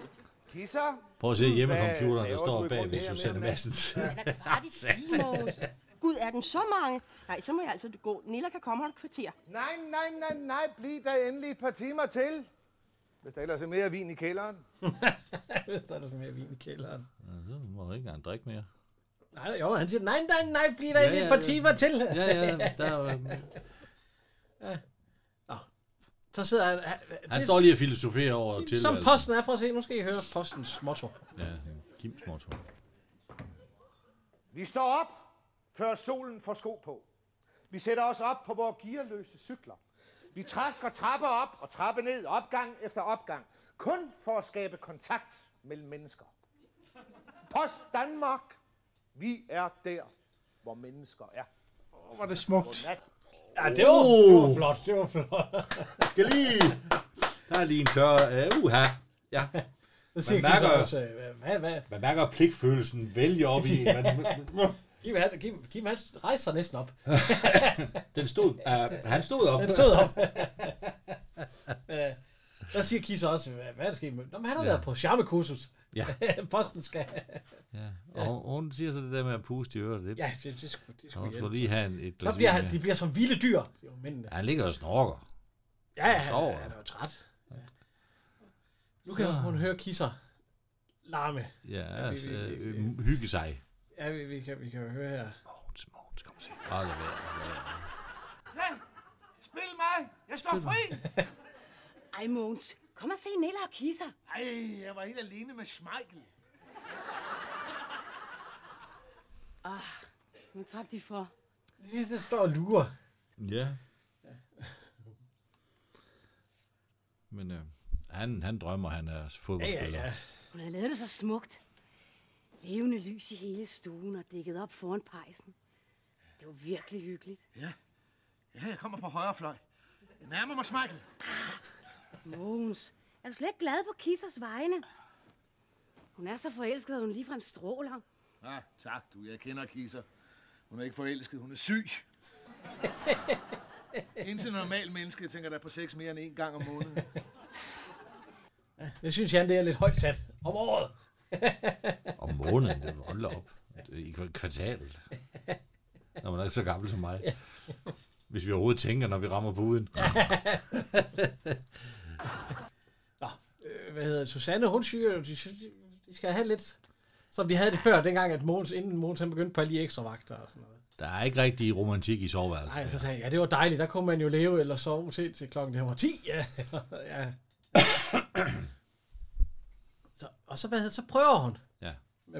Kisser?
Prøv at se
Hvad
hjemmecomputeren, der
laver du
står
i
bag
grunden
ved
her,
Susanne
mand?
Madsens.
Har de ti, Mogens? Gud, er den så mange? Nej, så må jeg altså gå. Nilla kan komme om et kvarter.
Nej, nej, nej, nej, bliv der endelig et par timer til. Hvis der ellers er mere vin i kælderen.
Hvis der er lidt mere vin i kælderen.
Ja, så må jeg ikke engang drikke mere.
Nej, jo, han siger, nej, nej, nej, bliv der ja, et par timer til.
Ja, ja, der, er jo-
Så sidder han... Han,
han
det-
står lige og filosoferer over til. altså.
Som posten er, for at se, nu skal I høre postens motto.
Ja, Kims motto.
Vi står op, før solen får sko på. Vi sætter os op på vores gearløse cykler. Vi træsker trapper op og trapper ned, opgang efter opgang. Kun for at skabe kontakt mellem mennesker. Post Danmark, vi er der, hvor mennesker er.
Hvor var det smukt.
Ja, det var,
Uh!
det var flot, det var flot.
Skal lige... Der er lige en tør... Uh, uha. Ja.
Så siger
Man
Kim så
mærker-
også, øh, hvad, hvad?
Man mærker at pligtfølelsen vælge op *laughs* i. en. Man,
Kim, han, Kim, Kim, han rejser sig næsten op.
den stod... Uh, han stod op.
Han stod op. Øh, Der *laughs* siger Kis også, hvad hvad er der sket med... Nå, men han har ja. været på charmekursus.
Ja.
*laughs* Posten skal...
Ja. Og hun, hun siger så det der med at puste i øret. Det,
Ja, det, det skulle, det skulle
hun skulle
hjælpe.
lige have en, et
Så
glas
bliver
vin
han,
mere.
de bliver som vilde dyr. Jo, mændene.
Ja, han ligger og snorker.
Ja, ja, han,
sover.
han er jo træt. Ja. Nu kan hun høre kisser larme.
Ja, altså,
vi- vi-
øh,
vi-
hygge sig.
Ja, vi, vi, kan, vi kan jo høre her.
Mogens, Mogens, kom og se. Åh, lad være, lad være.
Spil mig! Jeg står fri!
Ej Mogens, kom og se Nilla og kisser.
Ej, jeg var helt alene med Schmeichel.
Ah, nu tak de for.
Det synes, det står og lurer.
Ja. *laughs* Men øh, han, han drømmer, han er fodboldspiller. Ja, ja,
Hun havde lavet det så smukt. Levende lys i hele stuen og dækket op foran pejsen. Det var virkelig hyggeligt.
Ja, jeg kommer på højre fløj. Jeg nærmer mig Schmeichel.
Ah, Mogens, er du slet ikke glad på Kissers vegne? Hun er så forelsket, at hun ligefrem stråler.
Ja, tak du. Jeg kender Kisser. Hun er ikke forelsket, hun er syg. Indtil normal menneske tænker der på sex mere end en gang om
*laughs*
måneden.
Jeg synes, han det er lidt højt sat om året.
Om måneden, det holder op. I kva- kvartalet. Når man er ikke så gammel som mig. Hvis vi overhovedet tænker, når vi rammer buden.
Nå, øh, hvad hedder det? Susanne, hun syger jo, de, synes, de, de skal have lidt, som vi havde det før, dengang, at Måns, inden Måns han begyndte på alle de ekstra vagter og sådan noget.
Der er ikke rigtig romantik i soveværelset.
Nej, så sagde jeg, ja, det var dejligt, der kunne man jo leve eller sove til, til klokken det var 10, *laughs* ja. ja. så, og så, hvad hedder, det, så prøver hun.
Ja.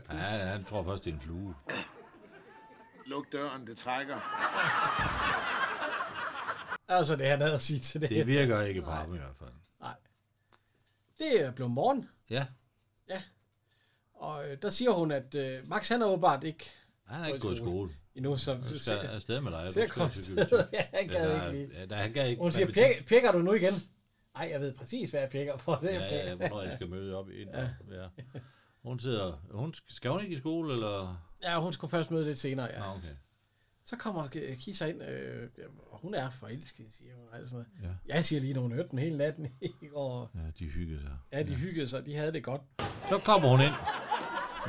ja, han tror først, det er en flue.
Luk døren, det trækker.
Altså, det han havde at sige til det.
Det virker ikke på ham i hvert fald.
Det er blevet morgen,
Ja,
og øh, der siger hun, at øh, Max han er åbenbart ikke
han er ikke gået i skole.
endnu, så...
Han skal afsted med dig. Du
Så jeg
skal
kom
til
afsted. *laughs*
gymnastik.
Ja, han gad
Eller-
ikke lige.
Ja, nej, han gad ikke.
Hun siger,
matematik.
"Pjek- pjekker du nu igen? Nej, jeg ved præcis, hvad jeg pjekker for. Det er
Ja, ja,
pjekker.
ja, hvornår jeg skal møde op ind. Ja. ja. Hun sidder... Hun, sk- skal hun ikke i skole, eller?
ja, hun skulle først møde lidt senere, ja.
Ja. Ah, okay.
Så kommer K- Kisa ind, øh, og hun er forelsket, siger hun. Altså.
Ja.
Ja. Jeg siger lige, når hun hørte den hele natten *laughs* i går.
ja, de hygger sig.
Ja, de hyggede sig, de havde det godt.
Så kommer hun ind.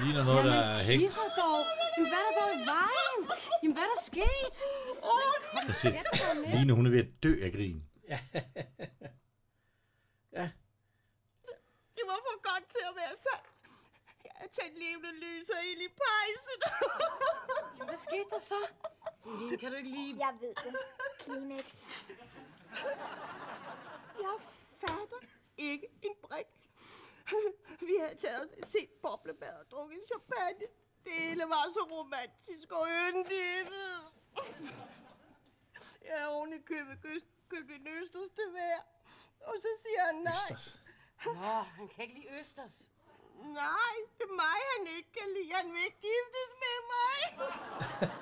Ligner noget, der er
Jamen,
hængt.
Kisser dog. Jamen, hvad er der dog i vejen? Jamen, hvad er der sket? Åh, kom,
Så
sæt
se,
dig ned.
Line, hun er ved at dø af grin.
Det var for godt til at være sandt. Jeg har tændt levende lys og ild i pejsen.
Jamen, hvad skete der så? Lene, kan du ikke lige...
Jeg ved det. Kleenex.
Jeg fatter ikke en brik. Vi havde taget os et set boblebad og drukket champagne. Det hele var så romantisk og yndigt. Jeg havde oven i vil købe kø- køkken Østers til hver. Og så siger han nej.
Østers.
Nå, han kan ikke lide Østers. Nej, det er mig, han ikke kan lide. Han vil ikke giftes med mig.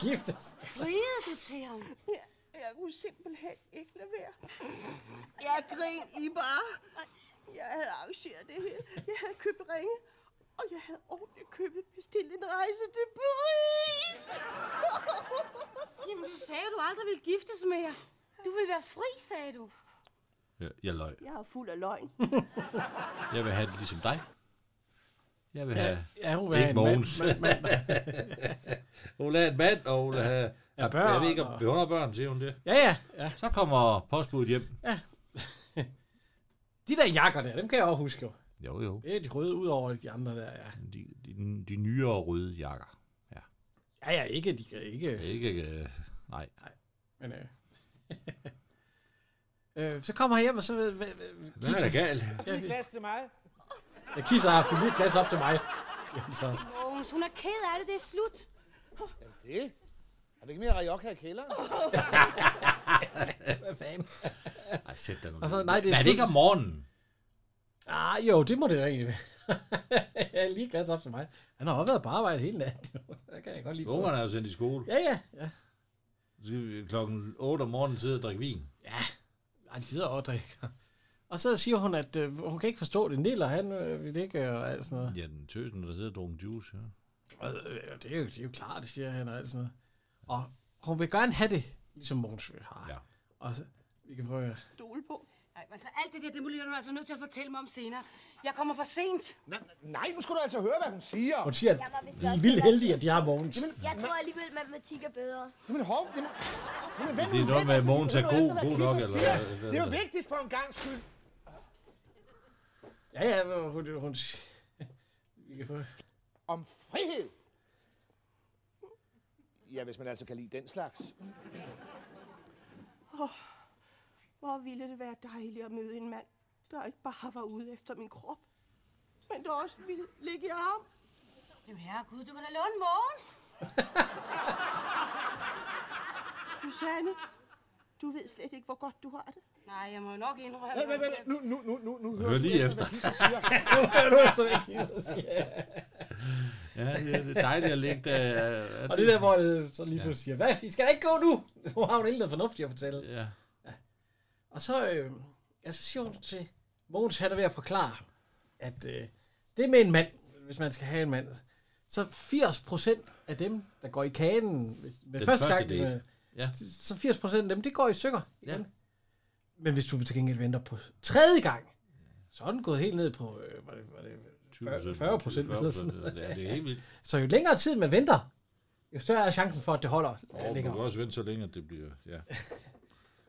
Giftes.
Friede du til ham? Ja, jeg kunne simpelthen ikke lade være. Jeg grin i bare. Jeg havde arrangeret det hele. Jeg havde købt ringe. Og jeg havde ordentligt købet bestilt en rejse til Paris.
Jamen, du sagde, du aldrig ville giftes med jer. Du ville være fri, sagde du.
Jeg, jeg løg.
Jeg er fuld af løgn.
*laughs* Jeg vil have det ligesom dig. Jeg vil
Ja,
have...
ja, hun vil
ikke
have en
Mogens.
mand, mand,
*laughs* hun vil have en mand, og hun vil have...
Ja, børn
jeg ved ikke,
og-
om hun har børn, siger hun det.
Ja, ja. ja.
Så kommer postbuddet hjem.
De der jakker der, dem kan jeg også huske jo.
Jo, jo.
Det er de røde, ud over de andre der, ja.
De, de, de nyere røde jakker.
Ja, ja, ikke, de kan ikke.
Ikke... Øh, nej.
Men, øh. *laughs* øh, så kommer jeg hjem, og så... Øh, øh,
Hvad er der galt?
Det er glas til mig.
Jeg kisser har fyldt et glas op til mig. siger han Så.
Mogens, hun er ked af det. Det er slut.
Er det det? Er det ikke mere Rajokka i kælderen?
Hvad fanden?
Ej, sæt dig nu.
Og så, nej, det er,
Men er det
slut.
ikke om morgenen?
Ah, jo, det må det jo egentlig være. *laughs* jeg er lige glas op til mig. Han har også været på arbejde hele natten. *laughs* det kan jeg godt lide.
Ungerne er jo sendt i skole.
Ja, ja, ja.
Så skal vi klokken 8 om morgenen sidde og drikke vin.
Ja, han sidder og drikker. Og så siger hun, at øh, hun kan ikke forstå det. Niller, han øh, vil det ikke, og alt sådan noget.
Ja, den tøsen, der sidder og drukker juice. Ja.
Og, øh, det, er jo, det er jo klart, siger han, og alt sådan noget. Og hun vil gerne have det, ligesom Mogens vil have.
Ja.
Og så, vi kan prøve at...
Stol på.
Nej, altså alt det der, det bliver du altså nødt til at fortælle mig om senere. Jeg kommer for sent.
Nej, nu skal du altså høre, hvad hun siger.
Hun siger,
Jeg var vist
at de er
også
vildt
lidt
heldige, at de har Mogens.
Jeg tror alligevel, matematik er bedre.
Jamen, hov. Jamen, jamen, vent,
Det er
nu,
noget
vent,
med, at
altså,
Mogens er
hør nu
god-
efter, hvad
god
Kisser
nok, eller
siger.
hvad- hvad-
Det er jo
hvad-
vigtigt for en gang skyld.
Ja, ja, hun, hun, hun *laughs* vi kan
*laughs*
prøve.
Om frihed. Ja, hvis man altså kan lide den slags.
Hvor ville det være dejligt at møde en mand, der ikke bare var ude efter min krop, men der også ville ligge i ham.
Jamen herregud, du kan da låne Mogens.
Susanne, du ved slet ikke, hvor godt du har det.
Nej, jeg må jo nok indrømme.
Vent, vent, vent. Nu, nu, nu, nu, nu hører
Hør
du
lige
hvad
efter.
Kisser
*laughs*
siger.
Hører du efter, hvad Kisser siger?
Ja, det er- det er dejligt at ligge der.
Og det er der, hvor det så lige pludselig siger, hvad, I skal da ikke gå nu? Nu har hun helt noget fornuftigt at fortælle.
Ja.
Og så, øh, ja, så siger hun til Mogens, han er ved at forklare, at øh, det med en mand, hvis man skal have en mand, så 80 procent af dem, der går i kagen hvis- med
Den
første,
første
gang,
date.
øh,
Ja.
så 80 procent af dem, det går i stykker.
Ja.
Ja. Men hvis du til gengæld venter på tredje gang, så er den gået helt ned på, øh, var det, var det 40 40 procent eller sådan
Ja, det er helt vildt.
Så jo længere tid man venter, jo større er chancen for, at det holder
Og
øh,
man
længere.
kan også vente så længe, at det bliver... Ja.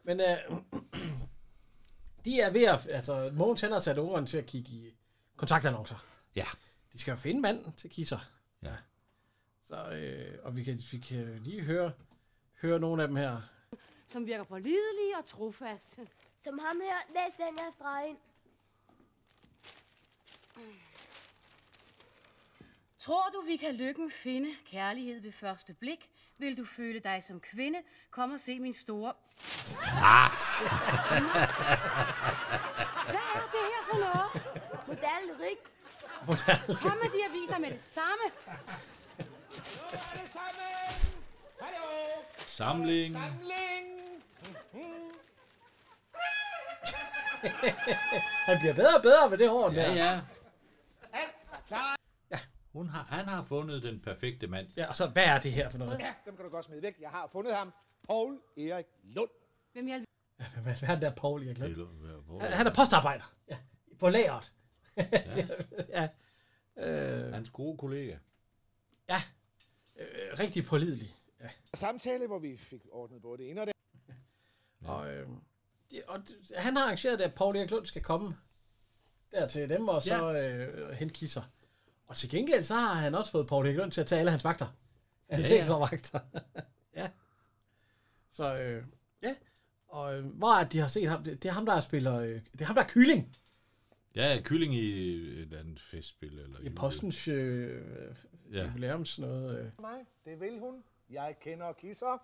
Men øh, *clears throat* de er ved at... Altså, Mogens han har sat ungeren til at kigge i kontaktannoncer.
Ja.
De skal jo finde manden til kisser.
Ja.
Så, øh, og vi kan, vi kan lige høre, høre nogle af dem her.
Som virker pålidelige og trofaste.
Som ham her, læs den, jeg har streget ind.
Tror du, vi kan lykken finde kærlighed ved første blik? Vil du føle dig som kvinde? Kom og se min store... Hvad er det her for noget?
Moderne lyrik.
Kom med de aviser med det samme.
Alle sammen! Hallo!
Samling.
Samling!
Han bliver bedre og bedre med det hår.
Ja,
der.
ja.
Alt er klar.
Hun har, han har fundet den perfekte mand.
ja. og så hvad er det her for noget?
Ja, dem kan du godt smide væk. Jeg har fundet ham. Paul Erik Lund.
Hvem jeg...
Ja, Hvad hvad er det der Paul, jeg glemte? Han,
Han,
han er postarbejder. Ja. På lageret. *laughs* ja. ja. Øh,
Hans gode kollega.
ja. Øh, rigtig pålidelig.
Samtale, hvor vi fik ordnet både det ene og det
Og, øh, det, og det- han har arrangeret, at Paul Erik Lund skal komme der til dem, og så ja. øh, hente kisser. Og til gengæld, så har han også fået Paul Erik Lund til at tage alle hans vagter. Hans
Ja,
ja,
ja.
ja. vagter. *laughs* ja. Så, øh, ja. Og øh, hvor er det, de har set ham? Det, det er ham, der spiller... Øh, det er ham, der er kylling
Ja, kylling i et eller andet festspil. Eller
i postens øh,
Ja.
ja. jubilæums noget. Øh.
andet. mig. Det vil hun. Jeg kender kisser.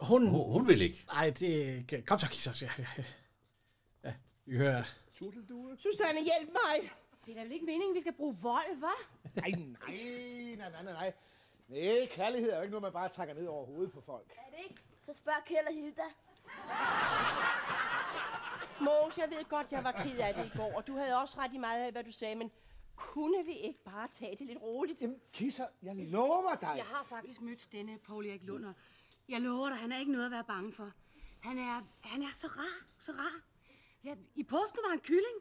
hun...
Hun- hun vil ikke.
Nej, det... kan- Kom så, kisser, siger jeg. *laughs* Ja, vi hører...
Turteldue. Susanne, hjælp mig.
Det er da vel ikke meningen, vi skal bruge vold, hva'?
Nej, nej, nej, nej, nej, nej. Nej, kærlighed er jo ikke noget, man bare trækker ned over hovedet på folk.
Er det ikke? Så spørg Kjell og Hilda.
Mås, jeg ved godt, jeg var ked af det i går, og du havde også ret i meget af, hvad du sagde, men kunne vi ikke bare tage det lidt roligt? Jamen,
kisser, jeg lover dig.
Jeg har faktisk mødt denne Paul Erik Lunder. Jeg lover dig, han er ikke noget at være bange for. Han er, han er så rar, så rar. Ja, I påsken var han kylling.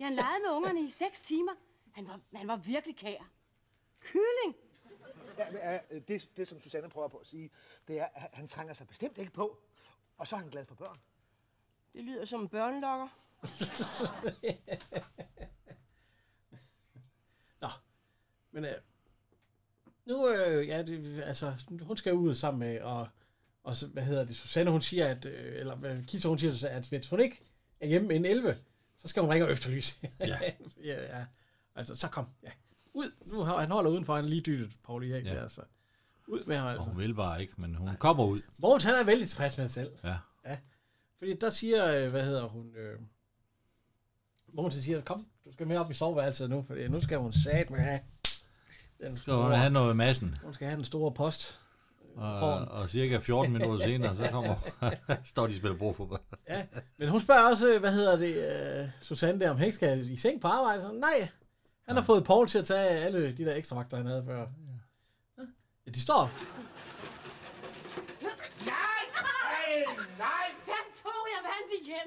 Ja, han legede med ungerne i seks timer. Han var, han var virkelig kær. Kylling?
Ja, men, øh, det, det, som Susanne prøver på at sige, det er, at han trænger sig bestemt ikke på. Og så er han glad for børn.
Det lyder som en børnelokker.
Men øh, nu, øh, ja, det, altså, hun skal ud sammen med, og, og så, hvad hedder det, Susanne, hun siger, at, øh, eller hvad, Kisser, hun siger, til Susanne, at hvis hun ikke er hjemme inden 11, så skal hun ringe og efterlyse. *laughs* Ja. ja, ja. Altså, så kom, ja. Ud, nu har han holder udenfor, han er lige dyttet, Paul Erik, ja.
Ja.
altså. Ud med ham, altså.
Hun vil bare ikke, men hun kommer ud.
Mogens, han er vældig tilfreds med sig selv.
Ja.
ja. Fordi der siger, øh, hvad hedder hun, øh, Mogens han siger, kom, du skal med op i soveværelset nu, for nu skal hun sat med have. Den
Skal hun have noget i massen?
Hun skal have den store post.
Og,
Horn.
og cirka 14 minutter senere, så
*laughs*
kommer *laughs* står de og spiller bordfodbold.
Ja, men hun spørger også, øh, hvad hedder det, uh, Susanne der, om han ikke skal i seng på arbejde. Så, nej, han har fået Paul til at tage alle de der ekstra vagter, han havde før. Ja. Ja, de står. *laughs*
Nej! Nej! Nej! Hvem tog jeg vandt igen?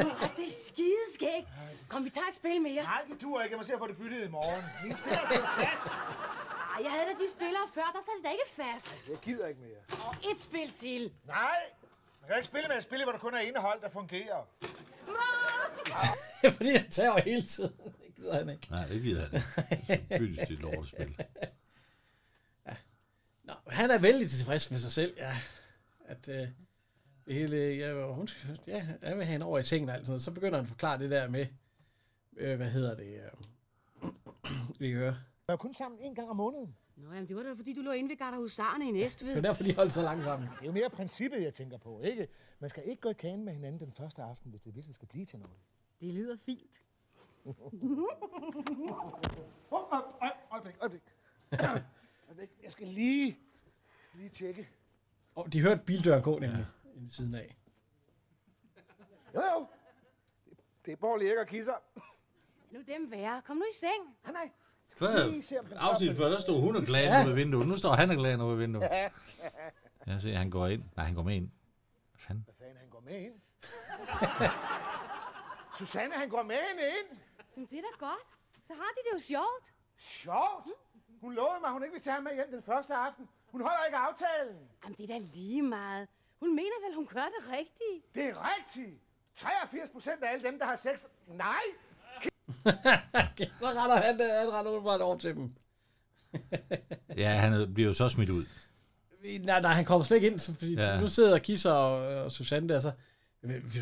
Oh, det er skideskægt. Kom, vi tager et spil mere.
Nej, det duer ikke. Jeg må se at få det byttet i morgen. Mine spiller *laughs* sidder fast.
Ej, jeg havde da de spillere før, der sad det da ikke fast.
Jeg gider ikke mere.
Og et spil til.
Nej, man kan ikke spille med et spil, hvor der kun er ene hold, der fungerer.
Fordi han tager hele tiden. Det gider han ikke.
Nej, det gider han ikke.
*laughs*
Så byttes det lortespil.
Nå, han er vældig tilfreds med sig selv, ja. At øh, det hele, ja, og hun, skal- ja, han vil have hende over i sengen og alt sådan noget. Så begynder han at forklare det der med, øh, hvad hedder det, øh, *clears throat* vi hører.
Man er kun sammen en gang om måneden.
Nå, jamen, det var da, fordi du lå inde ved Garderhusarerne i Næstved.
Det er derfor, de holdt så langt sammen.
Det er jo mere princippet, jeg tænker på, ikke? Man skal ikke gå i kagen med hinanden den første aften, hvis det virkelig skal blive til noget.
Det lyder fint.
Åh, øj, øj, Øjeblik, øjeblik. *clears throat* Øjeblik, Jeg skal lige, lige tjekke.
Og de hørte bildøren gå nemlig ja. inde ved siden af.
Jo, jo. Det er Borg Erik og Kisser.
Nu dem værre. Kom nu i seng.
Nej, nej.
Før, afsnit før, der stod hun og klagede ja. over vinduet. Nu står han og klager over vinduet. Jeg ser, han går ind. Nej, han går med ind. Hvad fanden?
Hvad fanden, han går med ind? *laughs* Susanne, han går med hende ind.
Jamen, det er da godt. Så har de det jo sjovt.
Sjovt? Hun lovede mig, at hun ikke ville tage ham med hjem den første aften. Hun holder ikke aftalen.
Jamen, det er da lige meget. Hun mener vel, hun gør det rigtige.
Det er rigtigt. 83 procent af alle dem, der har sex. Nej!
Så retter han, øh, han retter ud bare over til dem.
Ja, han bliver jo så smidt ud.
Nej, nej, han kommer slet ikke ind, så- fordi ja.
Ja.
nu sidder Kisser og, og Susanne der, så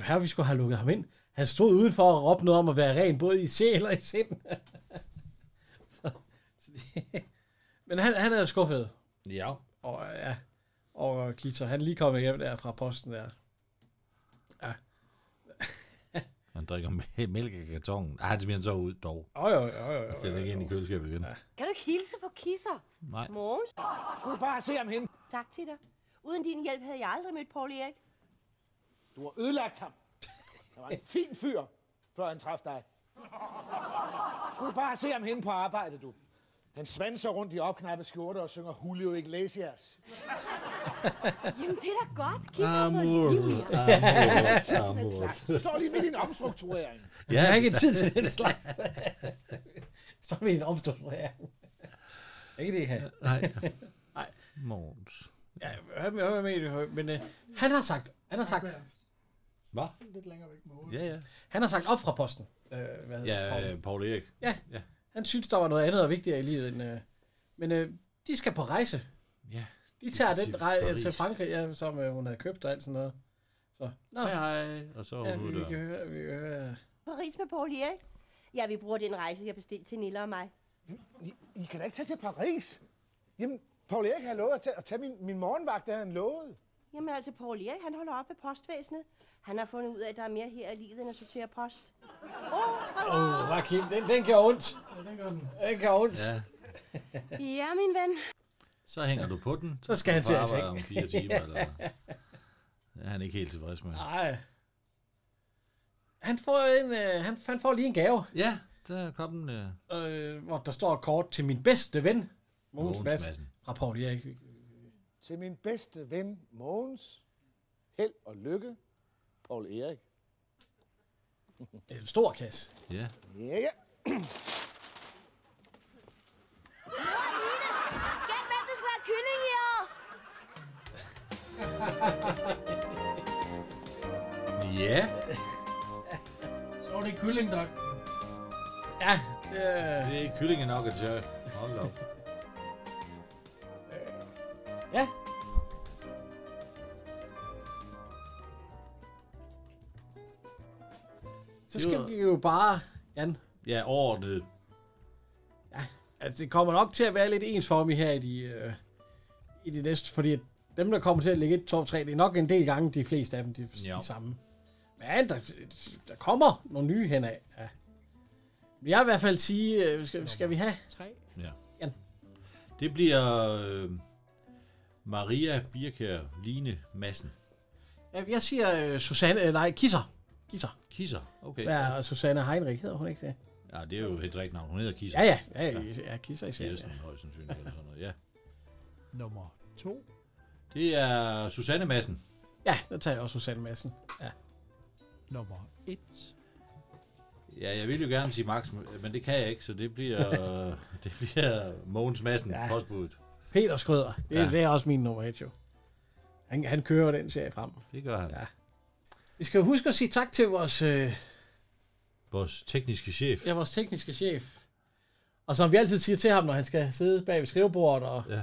her vi skulle have lukket ham ind. Han stod udenfor og råbte noget om at være ren, både i sjæl og i sind. *laughs* så, så det, men han, han er skuffet.
Ja.
Og ja, og Kisser, han er lige kommet hjem der fra posten der.
Han drikker mæ- mælk i kartongen. Ej, han smider han så ud dog.
Åh, jo, jo, jo, jo.
Han sætter ikke ind i køleskabet igen.
Kan du ikke hilse på kisser?
Nej.
Mogens?
Skulle bare se ham hen.
Tak til dig. Uden din hjælp havde jeg aldrig mødt Paul Erik.
Du har ødelagt ham. Han var en fin fyr, før han træffede dig. Skulle bare se ham hen på arbejde, du. Han svanser rundt i opknappet skjorte og synger Julio Iglesias.
Jamen, det er da godt. Kisser har fået
Amor,
liv i ham.
amor,
Den
amor.
slags. Du står lige midt i en omstrukturering.
Ja, jeg har ikke tid til den slags. *laughs* Så er vi i en omstående her. Ikke det her.
Nej.
Nej.
Måns.
Ja, jeg er med i det, høje, men øh, han har sagt, han har sagt,
Hvad?
Lidt længere væk med hovedet.
Ja, ja.
han har sagt op fra posten. Øh, hvad hedder det,
Ja,
Paul?
øh, Paul Erik.
Ja.
ja.
Han synes, der var noget andet og vigtigere i livet end... Øh, men øh, de skal på rejse.
Ja,
De tager
skal
den
til
rejse øh,
Paris.
til Frankrig, ja, som øh, hun havde købt og alt sådan noget. Så, nå. Hej,
hej. Og så er
ja,
hun
vi,
ude
vi
der.
kan høre, vi kan høre.
Paris med Paul Erik. Ja, vi bruger den rejse, jeg bestilte til Nilla og mig.
I, I kan da ikke tage til Paris. Jamen, Paul Erik har lovet at tage, at tage min, min morgenvagt, det havde han lovet.
Jamen altså, Paul Erik, han holder op med postvæsenet. Han har fundet ud af, at der er mere her i livet, end at sortere post.
Åh, oh, hvad Kim, den, den gør ondt.
Ja, den gør den.
Den gør ondt.
Ja.
Ja, min ven.
Så hænger du på den.
Så skal han til
at
at
om
tjekke.
fire timer. Eller... Det er han ikke helt tilfreds med.
Nej. Han får, en, øh, han, han får lige en gave.
Ja, der er kommet en... Øh...
Øh, hvor der står et kort til min bedste ven, Mogens
Mogens
Mads,
Madsen.
fra Paul Erik.
Til min bedste ven, Mogens. Held og lykke, Paul Erik.
En stor kasse.
Ja.
Ja, ja.
Gæt hvem, der skal være kylling i år.
Ja.
Så var det kylling, der...
Ja, det,
Det er ikke kyllinge nok at tørre. Hold da op.
ja. Så
Det
skal
var-
vi jo bare, Jan,
Ja, overordnet.
Altså, det kommer nok til at være lidt ensformigt her i de, øh, i de næste, fordi at dem, der kommer til at ligge 1, 2, 3, det er nok en del gange, de fleste af dem, de,
Jo.
de samme. Men der, der kommer nogle nye henad. Ja. Vil jeg i hvert fald sige, øh, skal, skal vi have?
Tre.
Ja.
Ja.
Det bliver øh, Maria Birkær Line Madsen.
Ja, Jeg siger øh, Susanne, øh, nej, Kisser. Kisser.
Kisser. Okay.
Hvad er Susanne Heinrich, hedder hun ikke det?
Ja, det er jo et rigtigt navn. Hun hedder Kisser.
Ja, ja, ja, ja, ja Kisser i serien.
Kirsten, højst sandsynligt, eller sådan noget. Ja.
Nummer to.
Det er Susanne Madsen.
Ja, der tager jeg også Susanne Madsen. Ja.
Nummer et.
Ja, jeg vil jo gerne sige Max, men det kan jeg ikke, så det *laughs* bliver, det bliver Mogens Madsen,
Ja.
ja. postbuddet.
Peter Skrøder, det, ja.
Ja.
det er også min nummer et, jo. Han, han kører den serie frem.
Det gør han.
Ja.
Ja.
Vi skal jo huske at sige tak til vores, øh,
Vores tekniske chef.
ja, vores tekniske chef. Og som vi altid siger til ham, når han skal sidde bag ved skrivebordet og,
Ja.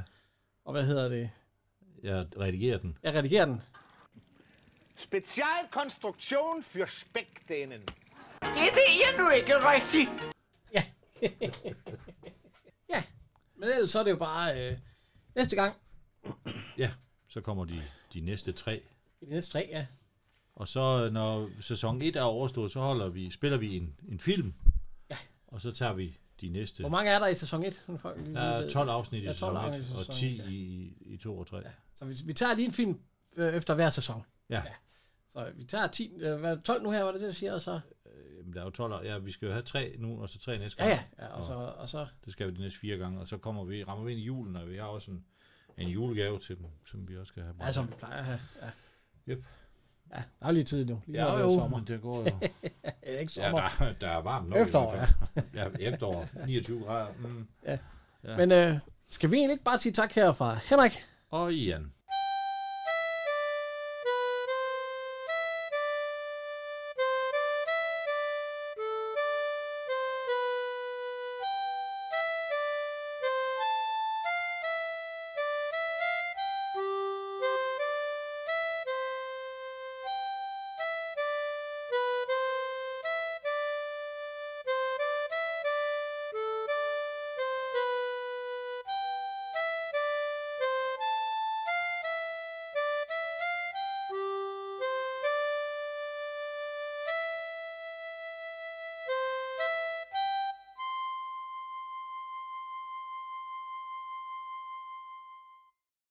og hvad hedder det?
Jeg redigerer den.
Jeg redigerer den.
Specialkonstruktion for spækdænen.
Det ved jeg nu ikke rigtigt.
*laughs* Ja, men ellers så er det jo bare øh, næste gang
Ja, så kommer de, de næste tre.
i de næste tre, ja.
Og så, når sæson 1 er overstået, så holder vi, spiller vi en, en film.
Ja.
Og så tager vi de næste.
Hvor mange er der i sæson 1? Sådan folk, lige
Der er
ved?
12 afsnit i
Ja, 12
sæson 1,
afsnit i sæson
og 10
et, ja.
i, i 2 og 3. Ja.
Så vi, vi tager lige en film øh, efter hver sæson.
Ja.
Så vi tager 10, øh, hvad, 12 nu her, var det det, jeg siger, og så...
Jamen, der er jo 12, og- ja, vi skal jo have 3 nu, og så 3 næste
Ja,
gang.
ja, ja og, så, og så...
Det skal vi de næste fire gange, og så kommer vi, rammer vi ind i julen, og vi har også en, en julegave til dem, som vi også skal have.
Ja, som vi plejer at have. Ja.
Yep.
Ja, der er jo lige tid nu. Lige
Ja,
nu er det
jo,
sommer.
men det *laughs* går jo.
det er ikke
Ja,
sommer.
der, der er varmt nok. i
Efterår,
hvert fald. ja. efterår, 29 grader. Mm.
Ja.
Ja.
Men øh, skal vi egentlig ikke bare sige tak her fra Henrik
Og Ian.